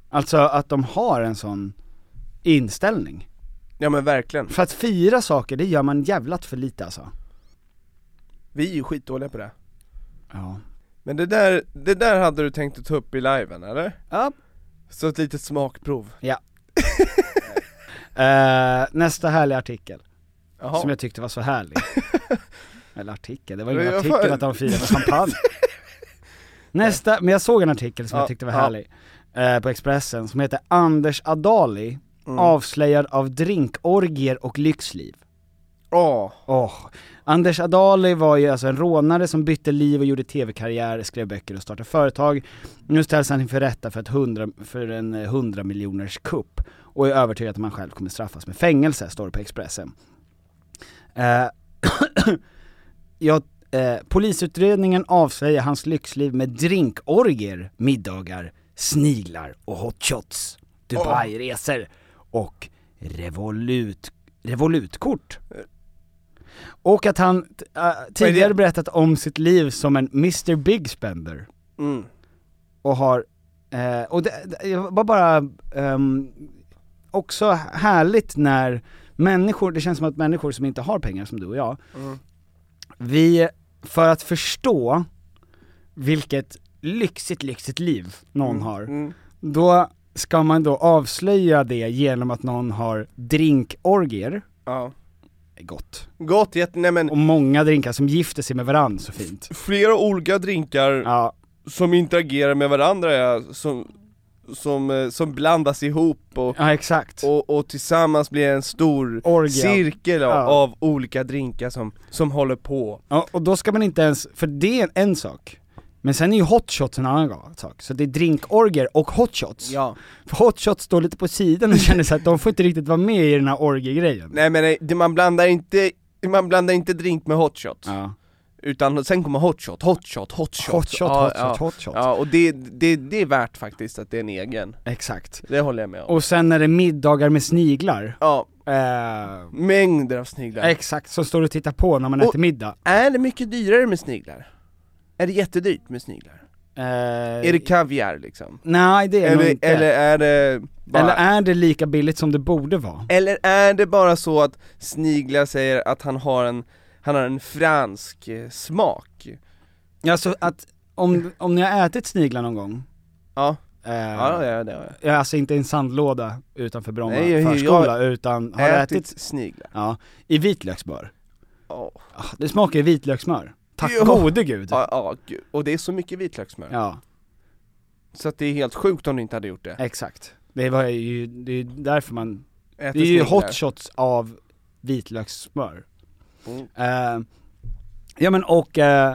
Speaker 3: Alltså att de har en sån inställning.
Speaker 4: ja men verkligen,
Speaker 3: För att fira saker, det gör man jävlat för lite alltså.
Speaker 4: vi är ju skitdåliga på det
Speaker 3: Ja.
Speaker 4: Men det där, det där hade du tänkt att ta upp i liven eller?
Speaker 3: Ja.
Speaker 4: Så ett litet smakprov
Speaker 3: Eh, nästa härliga artikel,
Speaker 4: Jaha.
Speaker 3: som jag tyckte var så härlig. Eller artikel, det var
Speaker 4: Men
Speaker 3: ingen
Speaker 4: jag
Speaker 3: artikel
Speaker 4: fan-
Speaker 3: att de firade med champagne. Nästa, men jag såg en artikel som
Speaker 4: Ja,
Speaker 3: jag tyckte var
Speaker 4: ja.
Speaker 3: härlig, eh, på Expressen, som heter
Speaker 4: Mm.
Speaker 3: Anders Adali, avslöjad av drinkorgier och lyxliv.
Speaker 2: Åh,
Speaker 3: Åh. Anders Adali var ju alltså en rånare som bytte liv och gjorde tv-karriär, skrev böcker och startade företag. Nu ställs han inför rätta för, ett 100, för en 100 miljoners kupp och är övertygad om att han själv kommer straffas med fängelse, står det på Expressen. Eh, ja, eh, polisutredningen avslöjar hans lyxliv med drinkorger, middagar, sniglar och hotshots, Dubai-resor och revolut, revolutkort. Och att han t- äh, tidigare berättat om sitt liv som en Mr Big Spender.
Speaker 4: Mm.
Speaker 3: Och har, eh, och det, det var bara ehm, också härligt när människor, det känns som att människor som inte har pengar som du och jag, vi, för att förstå vilket lyxigt, lyxigt liv någon har, då ska man då avslöja det genom att någon har drinkorgier,
Speaker 4: Ja.
Speaker 3: gott,
Speaker 4: Gott, jätte, nej men
Speaker 3: och många drinkar som gifter sig med varandra så fint.
Speaker 4: flera olika drinkar
Speaker 3: Ja,
Speaker 4: som interagerar med varandra, ja, som, som, eh, som blandas ihop och,
Speaker 3: ja exakt.
Speaker 4: och, och tillsammans blir en stor
Speaker 3: Orgie.
Speaker 4: cirkel av,
Speaker 3: Ja.
Speaker 4: av olika drinkar som, som håller på.
Speaker 3: Ja, och då ska man inte ens, för det är en, en sak. Men sen är ju hotshots en annan ga- sak, så det är drinkorger och hotshots.
Speaker 4: Ja.
Speaker 3: För hotshots står lite på sidan och känner så att de får inte riktigt vara med i den här orgiegrejen.
Speaker 4: Nej men nej, det- man blandar inte, man blandar inte drink med hotshot,
Speaker 3: Ja.
Speaker 4: utan sen kommer hotshot, hotshot, hotshot.
Speaker 3: Hotshot,
Speaker 4: ja,
Speaker 3: hotshot,
Speaker 4: ja.
Speaker 3: hotshot.
Speaker 4: Ja, och det, det, det är värt faktiskt att det är en egen,
Speaker 3: Exakt.
Speaker 4: det håller jag med om.
Speaker 3: Och sen är det middagar med sniglar.
Speaker 4: Ja,
Speaker 3: Eh,
Speaker 4: mängder av sniglar.
Speaker 3: Exakt, som står och tittar på när man
Speaker 4: Och-
Speaker 3: äter middag.
Speaker 4: är det mycket dyrare med sniglar? Är det jättedyrt med sniglar?
Speaker 3: Eh,
Speaker 4: Är det kaviar liksom?
Speaker 3: Nej det är det nog
Speaker 4: Eller,
Speaker 3: inte.
Speaker 4: eller är det bara,
Speaker 3: eller
Speaker 4: eller, är...
Speaker 3: är det lika billigt som det borde vara?
Speaker 4: det bara så att Snigla säger att han har en, han har en fransk eh, smak?
Speaker 3: Alltså att, om, om ni har ätit sniglar någon gång,
Speaker 4: Ja,
Speaker 3: eh,
Speaker 4: ja, ja det har jag.
Speaker 3: Ja, alltså inte i en sandlåda utanför Bromma
Speaker 4: Nej, jag-
Speaker 3: förskola, utan har
Speaker 4: ätit,
Speaker 3: ätit,
Speaker 4: sniglar?
Speaker 3: ja, i vitlökssmör.
Speaker 4: Ja,
Speaker 3: Ah, Det smakar ju vitlökssmör. Tack
Speaker 4: Jo.
Speaker 3: gode gud.
Speaker 4: ja, ja, gud. och det är så mycket vitlökssmör,
Speaker 3: Ja,
Speaker 4: så att det är helt sjukt om du inte hade gjort det
Speaker 3: exakt. Det var ju, det är ju därför man,
Speaker 4: Äter
Speaker 3: det är ju
Speaker 4: sniglar.
Speaker 3: hotshots av vitlökssmör.
Speaker 4: Mm.
Speaker 3: Eh, ja men och, eh,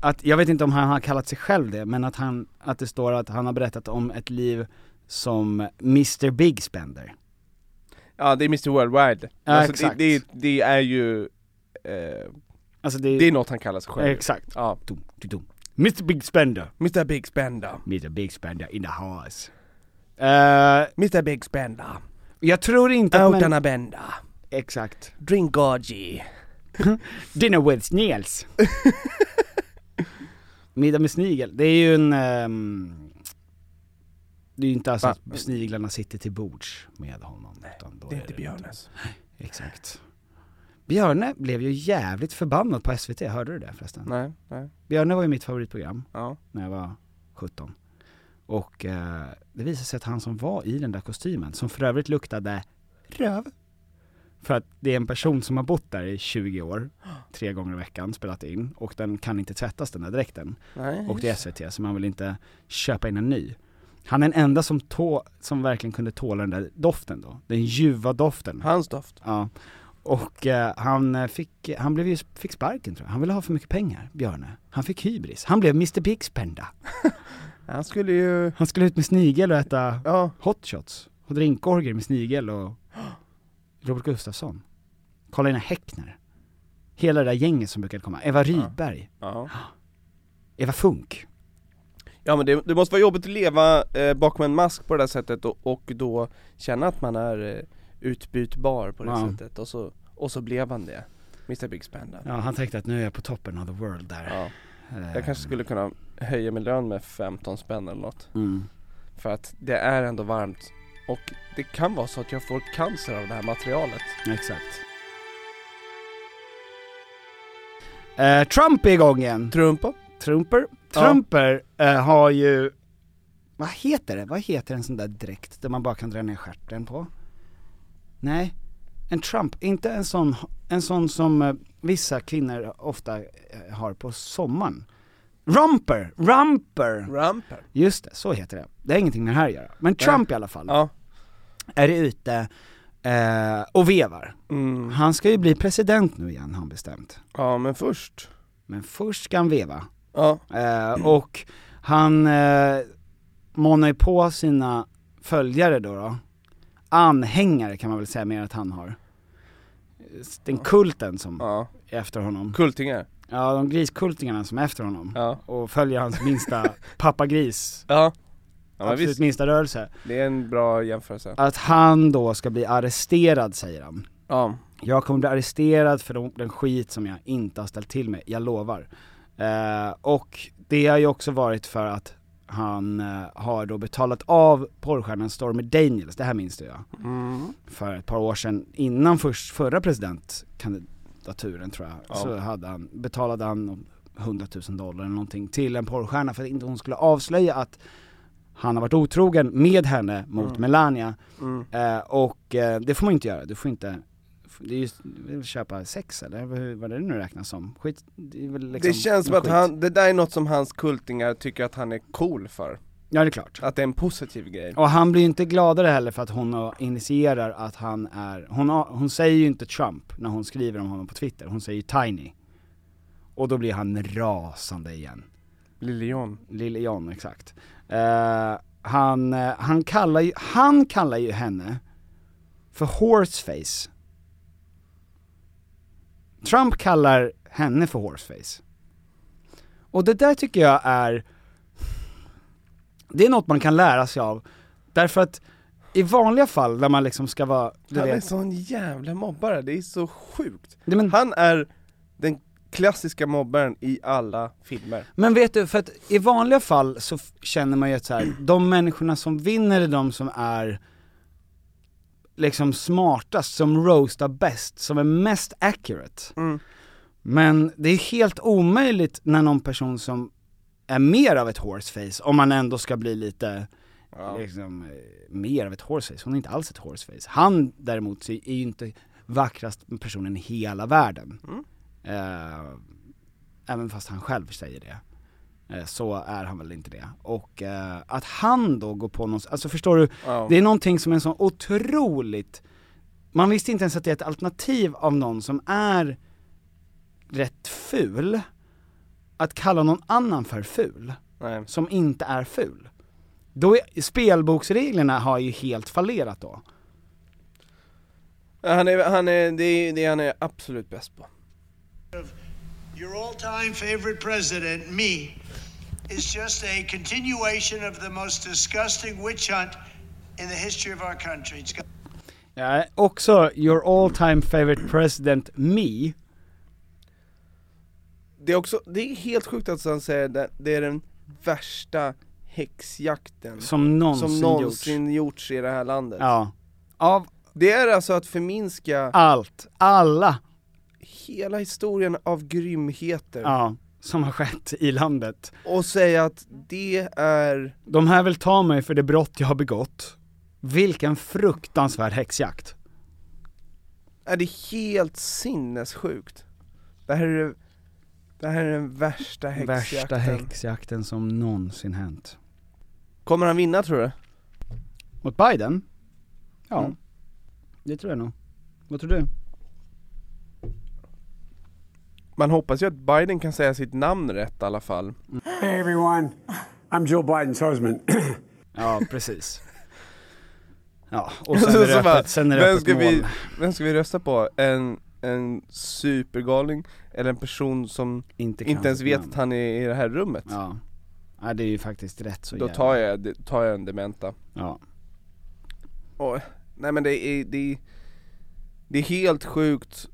Speaker 3: att, jag vet inte om han har kallat sig själv det, men att han, att det står att han har berättat om ett liv som Mr Big Spender.
Speaker 4: Ja, det är Mr Worldwide
Speaker 3: Ja,
Speaker 4: alltså,
Speaker 3: exakt.
Speaker 4: Det, det, det är ju, eh,
Speaker 3: Alltså det,
Speaker 4: det är något han kallar sig själv
Speaker 3: exakt.
Speaker 4: Ja,
Speaker 3: Dum, dum, dum. Mr Big Spender.
Speaker 4: Mr Big Spender,
Speaker 3: Mr Big Spender in the house. Eh,
Speaker 4: Mr Big Spender,
Speaker 3: jag tror inte att man...
Speaker 4: outarna bända,
Speaker 3: Exakt.
Speaker 4: drink orgy
Speaker 3: Dinner with snails. Middag med snigel, det är ju en... ehm, det är ju inte alltså
Speaker 4: Va?
Speaker 3: att sniglarna sitter till bords med honom. utan då
Speaker 4: Det är inte
Speaker 3: Björne.
Speaker 4: Björnes
Speaker 3: Exakt. Björne blev ju jävligt förbannad på SVT, hörde du det förresten?
Speaker 4: Nej, nej,
Speaker 3: Björne var ju mitt favoritprogram.
Speaker 4: ja
Speaker 3: när jag var 17. Och eh, det visade sig att han som var i den där kostymen, som för övrigt luktade röv, för att det är en person som har bott där i 20 år, tre gånger i veckan, spelat in, och den kan inte tvättas den där dräkten.
Speaker 4: Nej,
Speaker 3: Och det är SVT, så man vill inte köpa in en ny. Han är den enda som, tå- som verkligen kunde tåla den där doften då, den ljuva doften.
Speaker 4: hans doft.
Speaker 3: Ja. Och eh, han eh, fick, han blev ju, fick sparken tror jag, han ville ha för mycket pengar, Björne. Han fick hybris, han blev Mr Big Spenda.
Speaker 4: Han skulle ju,
Speaker 3: Han skulle ut med snigel och äta
Speaker 4: ja,
Speaker 3: hotshots och drinkorger med snigel och Robert Gustafsson, Karolina Häckner, hela det där gänget som brukade komma, Eva Rydberg,
Speaker 4: ja.
Speaker 3: Eva Funk.
Speaker 4: ja men det, det måste vara jobbigt att leva eh, bakom en mask på det där sättet och, och då känna att man är eh, utbytbar på det
Speaker 3: Ja.
Speaker 4: sättet och så, och så blev han det, Mr Big Spender.
Speaker 3: Ja, han tänkte att nu är jag på toppen of the world där.
Speaker 4: Ja.
Speaker 3: Eh,
Speaker 4: Jag kanske skulle kunna höja min lön med 15 spänn eller något,
Speaker 3: Mm.
Speaker 4: för att det är ändå varmt och det kan vara så att jag får cancer av det här materialet.
Speaker 3: Exakt. Eh, Trump är igång igen.
Speaker 4: Trumpa?
Speaker 3: Trumper. Trumper eh, har ju, vad heter det? Vad heter en sån där dräkt där man bara kan dra ner stjärten på? Nej, en Trump, inte en sån, en sån som eh, vissa kvinnor ofta eh, har på sommaren. Rumper, rumper!
Speaker 4: Ramper?
Speaker 3: Just det, så heter det. Det har ingenting med det här att göra. Men Trump i alla fall
Speaker 4: Ja,
Speaker 3: är ute eh, och vevar.
Speaker 4: Mm.
Speaker 3: Han ska ju bli president nu igen har han bestämt.
Speaker 4: Ja men först.
Speaker 3: Men först ska han veva.
Speaker 4: Ja.
Speaker 3: Eh, och han eh, manar ju på sina följare då, då, anhängare kan man väl säga mer att han har. Den kulten som
Speaker 4: ja.
Speaker 3: är efter honom.
Speaker 4: Kultingar.
Speaker 3: Ja, de griskultingarna som är efter honom.
Speaker 4: Ja.
Speaker 3: Och följer hans minsta pappagris,
Speaker 4: Ja. Ja men
Speaker 3: absolut
Speaker 4: visst,
Speaker 3: minsta rörelse.
Speaker 4: det är en bra jämförelse.
Speaker 3: Att han då ska bli arresterad säger han.
Speaker 4: Ja.
Speaker 3: Jag kommer bli arresterad för de, den skit som jag inte har ställt till med, jag lovar. Eh, och det har ju också varit för att han eh, har då betalat av porrstjärnan Stormy Daniels, det här minns du ja. För ett par år sedan, innan först, förra presidentkandidaturen tror jag, så hade han, betalade han 100 000 dollar eller någonting till en porrstjärna för att inte hon skulle avslöja att han har varit otrogen med henne mot
Speaker 4: Mm.
Speaker 3: Melania. Eh, och eh, det får man ju inte göra, du får inte det är ju, det är väl köpa sex eller hur, vad är det nu räknas som? Skit, det är väl liksom
Speaker 4: det känns som
Speaker 3: någon
Speaker 4: att
Speaker 3: skit.
Speaker 4: han, det där är något som hans kultingar tycker att han är cool för.
Speaker 3: Ja det är klart.
Speaker 4: Att det är en positiv grej.
Speaker 3: Och han blir ju inte gladare heller för att hon har- initierar att han är, hon, har, hon säger ju inte Trump när hon skriver om honom på Twitter, hon säger ju Tiny. Och då blir han rasande igen.
Speaker 4: Lille John.
Speaker 3: Lille John, exakt. Eh, han, eh, han, kallar ju, han kallar ju henne för horseface. Trump kallar henne för horseface. Och det där tycker jag är, det är något man kan lära sig av. Därför att i vanliga fall när man liksom ska vara, du
Speaker 4: Han är
Speaker 3: vet,
Speaker 4: sån jävla mobbare, det är så sjukt.
Speaker 3: Nej, men-
Speaker 4: Han är den klassiska mobbaren i alla filmer.
Speaker 3: Men vet du, för att i vanliga fall så f- känner man ju att så här, de människorna som vinner är de som är liksom smartast, som roastar bäst, som är mest accurate. Men det är helt omöjligt när någon person som är mer av ett horseface, om man ändå ska bli lite liksom, eh, mer av ett horseface, hon är inte alls ett horseface. Han däremot så är ju inte vackrast personen i hela världen. Eh, även fast han själv säger det, eh, så är han väl inte det. Och eh, att han då går på någon, alltså förstår du, det är någonting som är så otroligt, man visste inte ens att det är ett alternativ av någon som är rätt ful, att kalla någon annan för ful,
Speaker 4: Nej.
Speaker 3: som inte är ful. Då är, spelboksreglerna har ju helt fallerat då.
Speaker 4: Han är, han är, det är det han är absolut bäst på.
Speaker 6: Your all time favorite president, me, is just a continuation of the most disgusting witch hunt in the history of our country. It's got
Speaker 3: Ja, också your all time favorite president, me,
Speaker 4: Det är också, det är helt sjukt att han säger det, det är den värsta häxjakten
Speaker 3: som någonsin,
Speaker 4: som
Speaker 3: gjorts.
Speaker 4: någonsin gjorts i det här landet.
Speaker 3: Ja. Av
Speaker 4: Det är alltså att förminska
Speaker 3: allt, alla,
Speaker 4: hela historien av grymheter
Speaker 3: ja, som har skett i landet.
Speaker 4: och säga att det är,
Speaker 3: De här vill ta mig för det brott jag har begått. Vilken fruktansvärd häxjakt.
Speaker 4: är det helt sinnessjukt. Det här är, det här är den värsta häxjakten.
Speaker 3: Värsta häxjakten som någonsin hänt.
Speaker 4: Kommer han vinna tror du?
Speaker 3: Mot Biden? Ja, det tror jag nog. Vad tror du?
Speaker 4: Man hoppas ju att Biden kan säga sitt namn rätt i alla fall.
Speaker 7: Hey everyone, I'm Joe Biden's husband.
Speaker 3: Ja, precis. ja, och
Speaker 4: Så-
Speaker 3: sen är
Speaker 4: så
Speaker 3: det
Speaker 4: bara,
Speaker 3: öppet, sen är det
Speaker 4: vem,
Speaker 3: öppet
Speaker 4: ska
Speaker 3: mål.
Speaker 4: vi, vem ska vi rösta på? En, en supergalning eller en person som
Speaker 3: Inte, kan
Speaker 4: inte ens
Speaker 3: sitt
Speaker 4: vet
Speaker 3: namn.
Speaker 4: att han är i det här rummet?
Speaker 3: Ja. ja, det är ju faktiskt rätt så
Speaker 4: Då
Speaker 3: jävla-
Speaker 4: tar jag, tar jag en dementa.
Speaker 3: Ja.
Speaker 4: Och, nej men det är, det är, det är helt sjukt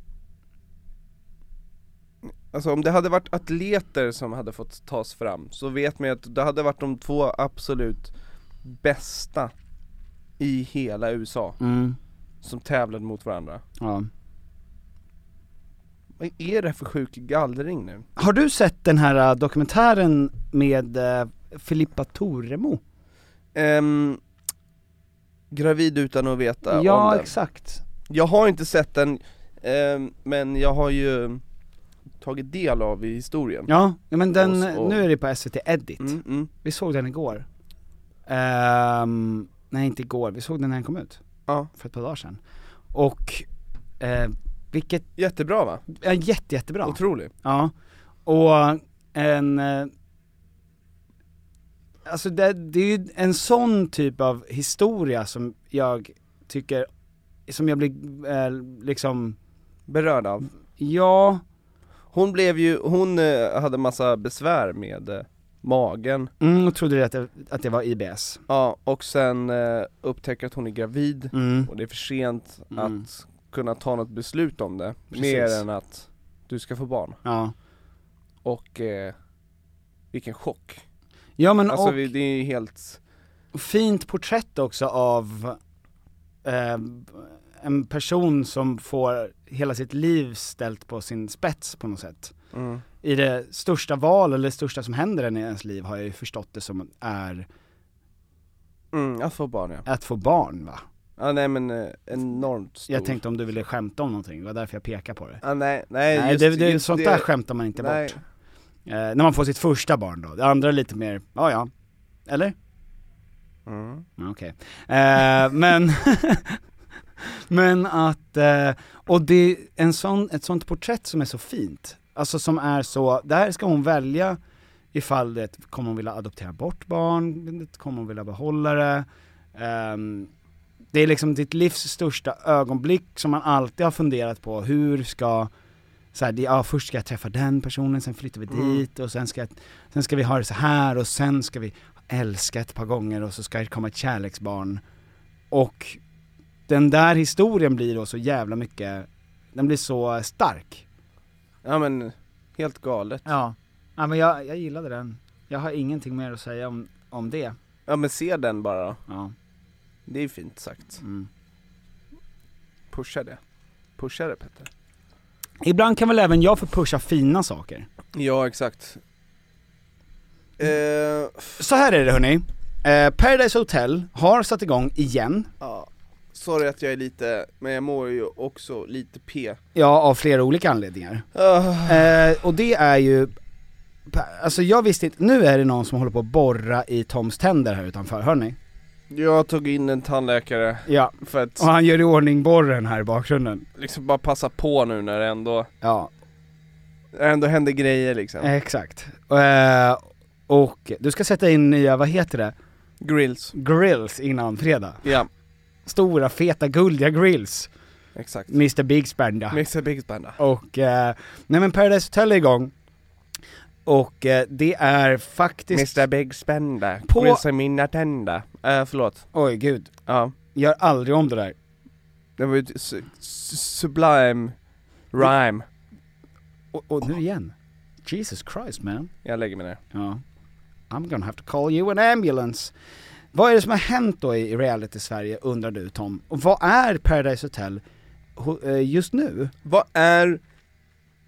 Speaker 4: Alltså om det hade varit atleter som hade fått tas fram så vet man ju att det hade varit de två absolut bästa i hela USA
Speaker 3: Mm.
Speaker 4: som tävlade mot varandra.
Speaker 3: ja.
Speaker 4: Vad är det för sjuk gallring nu?
Speaker 3: Har du sett den här äh, dokumentären med äh, Filippa Toremo?
Speaker 4: Ehm, gravid utan att veta Äh, om
Speaker 3: ja,
Speaker 4: den.
Speaker 3: exakt.
Speaker 4: Jag har inte sett den, ehm, men jag har ju tagit del av i historien.
Speaker 3: Ja, ja, men den,
Speaker 4: Och så-
Speaker 3: nu är det på SVT Edit.
Speaker 4: Mm, mm.
Speaker 3: Vi såg den igår. Ehm, nej inte igår, vi såg den när den kom ut.
Speaker 4: Ja.
Speaker 3: För ett par dagar sedan. Och, eh, vilket...
Speaker 4: Jättebra va?
Speaker 3: Ja, jätte, jättebra.
Speaker 4: Otrolig.
Speaker 3: Ja. Och en... Eh, alltså det, det är ju en sån typ av historia som jag tycker, som jag blir eh, liksom...
Speaker 4: Berörd av.
Speaker 3: Ja,
Speaker 4: Hon blev ju, hon eh, hade massa besvär med eh, magen,
Speaker 3: mm, jag trodde att det, att det var IBS.
Speaker 4: ja, och sen eh, upptäcker att hon är gravid
Speaker 3: Mm.
Speaker 4: och det är för sent
Speaker 3: Mm.
Speaker 4: att kunna ta något beslut om det,
Speaker 3: Precis.
Speaker 4: mer än att du ska få barn.
Speaker 3: Ja.
Speaker 4: Och eh, vilken chock.
Speaker 3: Ja men
Speaker 4: alltså
Speaker 3: och,
Speaker 4: vi, det är ju helt,
Speaker 3: fint porträtt också av eh, en person som får hela sitt liv ställt på sin spets på något sätt.
Speaker 4: mm.
Speaker 3: I det största val, eller det största som händer en i ens liv har jag ju förstått det som är
Speaker 4: Mm, att få barn ja.
Speaker 3: att få barn va?
Speaker 4: ja nej men eh, enormt stor.
Speaker 3: Jag tänkte om du ville skämta om någonting, det var därför jag pekade på det.
Speaker 4: ja, nej, nej,
Speaker 3: Nej,
Speaker 4: just,
Speaker 3: det, det,
Speaker 4: just
Speaker 3: sånt
Speaker 4: det-
Speaker 3: där skämtar man inte
Speaker 4: nej.
Speaker 3: bort. Eh, när man får sitt första barn då, det andra är lite mer, ja ja, eller?
Speaker 4: Mm.
Speaker 3: Ja, Okej. Eh, men, men att, eh, och det är en sån, ett sånt porträtt som är så fint. Alltså som är så, där ska hon välja ifall det, kommer hon vilja adoptera bort barn, kommer hon vilja behålla det. Ehm, det är liksom ditt livs största ögonblick som man alltid har funderat på, hur ska så här, det- ja, först ska jag träffa den personen, sen flyttar vi
Speaker 4: Mm.
Speaker 3: dit och sen ska, jag- sen ska vi ha det så här och sen ska vi älska ett par gånger och så ska det komma ett kärleksbarn. Och den där historien blir då så jävla mycket, den blir så stark.
Speaker 4: Ja men, helt galet.
Speaker 3: Ja. Ja men jag, jag gillade den. Jag har ingenting mer att säga om, om det.
Speaker 4: Ja men se den bara då.
Speaker 3: Ja.
Speaker 4: Det är fint sagt.
Speaker 3: Mm.
Speaker 4: Pusha det. Pusha det Petter.
Speaker 3: Ibland kan väl även jag få pusha fina saker.
Speaker 4: Ja exakt. Eh,
Speaker 3: Så här är det hörni. Eh, Paradise Hotel har satt igång igen,
Speaker 4: ja. Sorry att jag är lite, men jag mår ju också lite P.
Speaker 3: ja av flera olika anledningar.
Speaker 4: Ah,
Speaker 3: Eh, och det är ju, alltså jag visste inte, nu är det någon som håller på att borra i Toms tänder här utanför, hör ni?
Speaker 4: Jag tog in en tandläkare
Speaker 3: Ja,
Speaker 4: för att
Speaker 3: och han gör i ordning borren här i bakgrunden.
Speaker 4: liksom bara passa på nu när det ändå,
Speaker 3: Ja,
Speaker 4: när det ändå händer grejer liksom.
Speaker 3: exakt. Eh, och du ska sätta in nya, vad heter det,
Speaker 4: Grills.
Speaker 3: grills innan fredag.
Speaker 4: Ja,
Speaker 3: Stora feta guldiga grills,
Speaker 4: exakt.
Speaker 3: Mr Big Spender.
Speaker 4: Mixed Big Spanda.
Speaker 3: Och, eh, nej men Paradise Hotel är igång. Och eh, det är faktiskt,
Speaker 4: Mr Big Spenda,
Speaker 3: På-
Speaker 4: grissa mina tänder. Eh, förlåt.
Speaker 3: oj gud,
Speaker 4: Ja.
Speaker 3: gör aldrig om det där.
Speaker 4: Det var ju ett su- su- sublime rhyme.
Speaker 3: Och, och nu igen, Jesus Christ man.
Speaker 4: Jag lägger mig ner.
Speaker 3: Ja. I'm gonna have to call you an ambulance. Vad är det som har hänt då i reality-Sverige undrar du Tom? Och vad är Paradise Hotel ho- eh, just nu?
Speaker 4: Vad är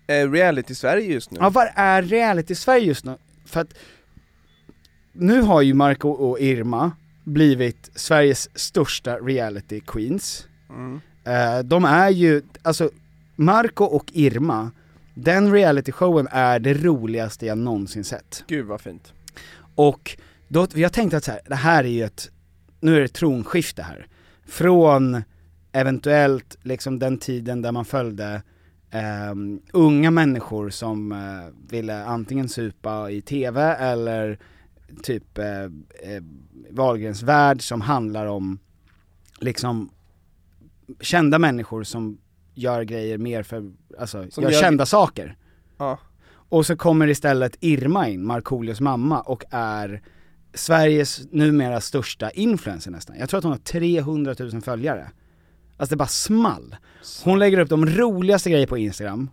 Speaker 4: eh, reality Sverige just nu?
Speaker 3: Ja, vad är reality-Sverige just nu? För att nu har ju Marco och Irma blivit Sveriges största reality queens.
Speaker 4: Mm.
Speaker 3: Eh, de är ju, alltså Marco och Irma, den reality-showen är det roligaste jag någonsin sett.
Speaker 4: Gud vad fint.
Speaker 3: Och då, jag tänkte att så här, det här är ju ett, nu är det ett tronskifte här. Från eventuellt liksom den tiden där man följde ehm, unga människor som eh, ville antingen supa i TV eller typ eh, eh, Wahlgrens värld som handlar om liksom kända människor som gör grejer mer för, alltså
Speaker 4: Som
Speaker 3: gör
Speaker 4: gör-
Speaker 3: kända saker.
Speaker 4: Ja.
Speaker 3: Och så kommer istället Irma in, Markoolios mamma, och är Sveriges numera största influencer nästan. Jag tror att hon har 300 000 följare. Alltså det bara small. Hon lägger upp de roligaste grejer på Instagram.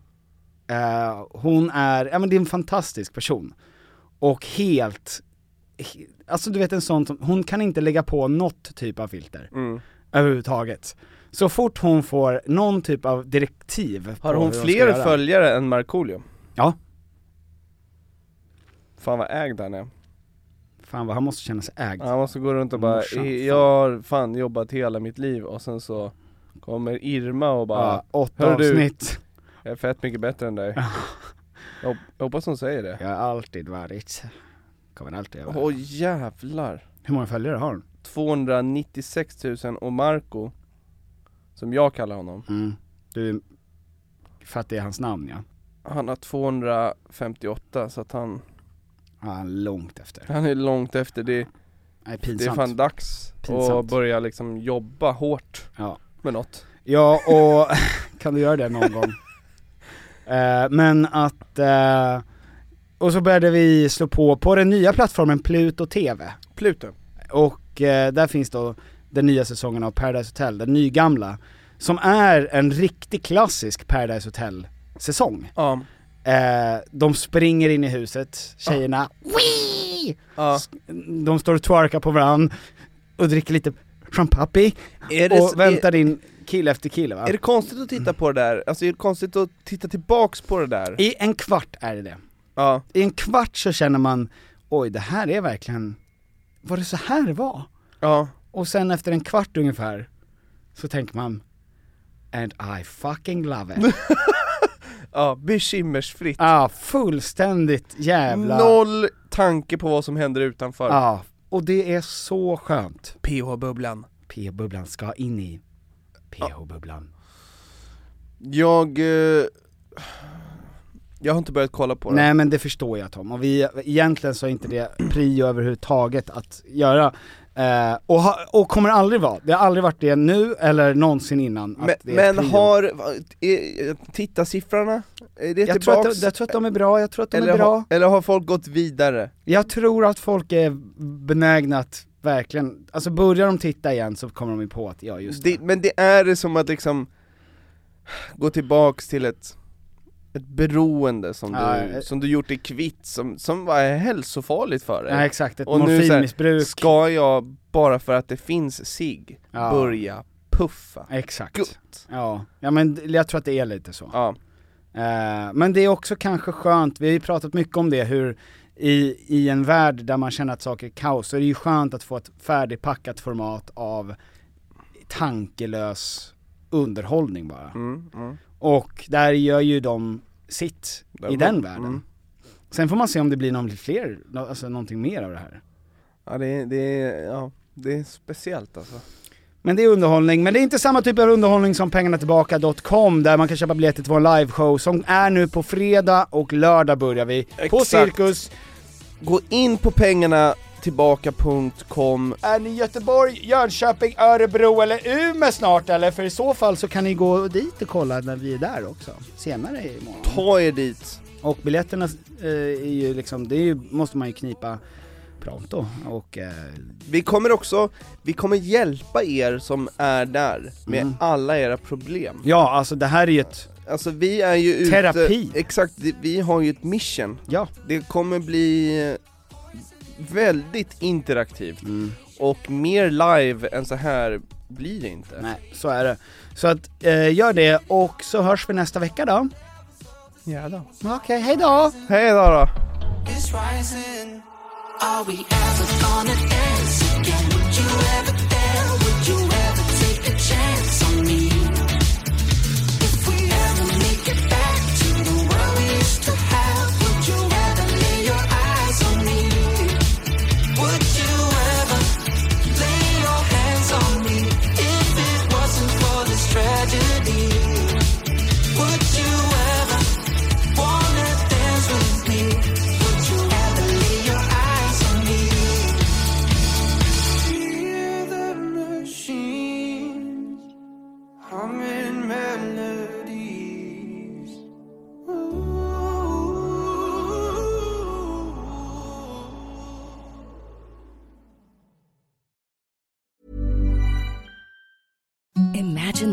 Speaker 3: Eh, hon är, ja men det är en fantastisk person. Och helt, he, alltså du vet en sån som, hon kan inte lägga på något typ av filter.
Speaker 4: Mm.
Speaker 3: Överhuvudtaget. Så fort hon får någon typ av direktiv
Speaker 4: Har
Speaker 3: på
Speaker 4: hon
Speaker 3: hur
Speaker 4: fler
Speaker 3: ska göra-
Speaker 4: följare än Markoolio?
Speaker 3: Ja.
Speaker 4: Fan vad ägd han är.
Speaker 3: Fan vad han måste känna sig ägd.
Speaker 4: Han måste gå runt och bara,
Speaker 3: Morsan,
Speaker 4: "I-
Speaker 3: fan."
Speaker 4: jag har fan jobbat hela mitt liv och sen så kommer Irma och bara,
Speaker 3: Ja, åtta
Speaker 4: Hör du?
Speaker 3: avsnitt.
Speaker 4: jag är fett mycket bättre än dig. jag, hop- jag hoppas hon säger det.
Speaker 3: Jag har alltid varit, kommer alltid
Speaker 4: Åh
Speaker 3: vara.
Speaker 4: jävlar.
Speaker 3: Hur många följare har hon?
Speaker 4: 296 000 och Marco som jag kallar honom.
Speaker 3: Mm. Du, för att det är hans namn ja.
Speaker 4: Han har 258 så att han,
Speaker 3: Ja, han är långt efter.
Speaker 4: han är långt efter. Det,
Speaker 3: Nej,
Speaker 4: det är
Speaker 3: pinsamt.
Speaker 4: fan dags
Speaker 3: Pinsamt.
Speaker 4: att börja liksom jobba hårt
Speaker 3: Ja.
Speaker 4: med något.
Speaker 3: Ja, och kan du göra det någon gång? Eh, men att, eh, och så började vi slå på på den nya plattformen Pluto TV.
Speaker 4: Pluto.
Speaker 3: Och eh, där finns då den nya säsongen av Paradise Hotel, den nygamla, som är en riktig klassisk Paradise Hotel-säsong.
Speaker 4: Ja.
Speaker 3: Eh, de springer in i huset, tjejerna, Wii!
Speaker 4: Ah. Ja.
Speaker 3: S- De står och twerkar på varandra och dricker lite champagne
Speaker 4: Är det,
Speaker 3: och
Speaker 4: är,
Speaker 3: väntar in kille efter kille va?
Speaker 4: är det konstigt att titta på det där? Alltså är det konstigt att titta tillbaks på det där?
Speaker 3: I en kvart är det det.
Speaker 4: Ja.
Speaker 3: I en kvart så känner man, oj det här är verkligen, var det så här det var?
Speaker 4: Ja.
Speaker 3: Och sen efter en kvart ungefär, så tänker man, and I fucking love it.
Speaker 4: Ja, bekymmersfritt.
Speaker 3: ah, fullständigt jävla...
Speaker 4: Noll tanke på vad som händer utanför.
Speaker 3: Ah, och det är så skönt.
Speaker 4: PH-bubblan.
Speaker 3: PH-bubblan ska in i PH-bubblan.
Speaker 4: Jag... Eh, jag har inte börjat kolla på det.
Speaker 3: Nej men det förstår jag Tom, och vi, egentligen så är inte det prio överhuvudtaget att göra. Eh, och, ha, och kommer aldrig vara, det har aldrig varit det nu eller någonsin innan att
Speaker 4: Men,
Speaker 3: det är
Speaker 4: men
Speaker 3: prio.
Speaker 4: har, är, tittarsiffrorna, är det
Speaker 3: jag tror,
Speaker 4: tillbaks?
Speaker 3: att, jag tror att de är bra, jag tror att de
Speaker 4: eller,
Speaker 3: är bra.
Speaker 4: Har, eller har folk gått vidare?
Speaker 3: Jag tror att folk är benägna att verkligen, alltså börjar de titta igen så kommer de ju på att, ja just det.
Speaker 4: Det, men det är det som att liksom gå tillbaks till ett, ett beroende som,
Speaker 3: Ja,
Speaker 4: du,
Speaker 3: eh.
Speaker 4: som du gjort dig kvitt, som, som var hälsofarligt för dig.
Speaker 3: Ja exakt, ett
Speaker 4: Och nu så här,
Speaker 3: morfinmissbruk.
Speaker 4: Ska jag, bara för att det finns sig
Speaker 3: Ja.
Speaker 4: börja puffa?
Speaker 3: Exakt.
Speaker 4: Gott.
Speaker 3: Ja. ja men d- jag tror att det är lite så.
Speaker 4: Ja.
Speaker 3: Eh, men det är också kanske skönt, vi har ju pratat mycket om det, hur i, i en värld där man känner att saker är kaos, så är det ju skönt att få ett färdigpackat format av tankelös underhållning bara.
Speaker 4: Mm, mm.
Speaker 3: Och där gör ju de sitt i
Speaker 4: Där-
Speaker 3: den världen.
Speaker 4: Mm.
Speaker 3: Sen får man se om det blir någon fler, nå- alltså någonting mer av det här.
Speaker 4: Ja, det, är- det, är- ja, det är speciellt alltså.
Speaker 3: Men det är underhållning, men det är inte samma typ av underhållning som pengarnatillbaka.com där man kan köpa biljetter till vår liveshow som är nu på fredag och lördag börjar vi. På
Speaker 4: Exakt.
Speaker 3: Cirkus.
Speaker 4: Gå in på pengarna tillbaka.com
Speaker 3: Är ni i Göteborg, Jönköping, Örebro eller Umeå snart eller? För i så fall så kan ni gå dit och kolla när vi är där också, senare i månaden.
Speaker 4: Ta er dit!
Speaker 3: Och biljetterna eh, är ju liksom, det är ju, måste man ju knipa pronto och eh,
Speaker 4: Vi kommer också, vi kommer hjälpa er som är där med
Speaker 3: Mm.
Speaker 4: alla era problem.
Speaker 3: ja alltså det här är ju ett,
Speaker 4: Alltså vi är ju ute...
Speaker 3: Terapi.
Speaker 4: Exakt, det- vi har ju ett mission.
Speaker 3: ja.
Speaker 4: Det kommer bli eh, väldigt interaktivt
Speaker 3: Mm.
Speaker 4: och mer live än så här blir det inte.
Speaker 3: Nej, så är det. Så att, eh, gör det och så hörs vi nästa vecka då.
Speaker 4: Ja då.
Speaker 3: Okej, hej då!
Speaker 4: Hej då då!
Speaker 8: Imagine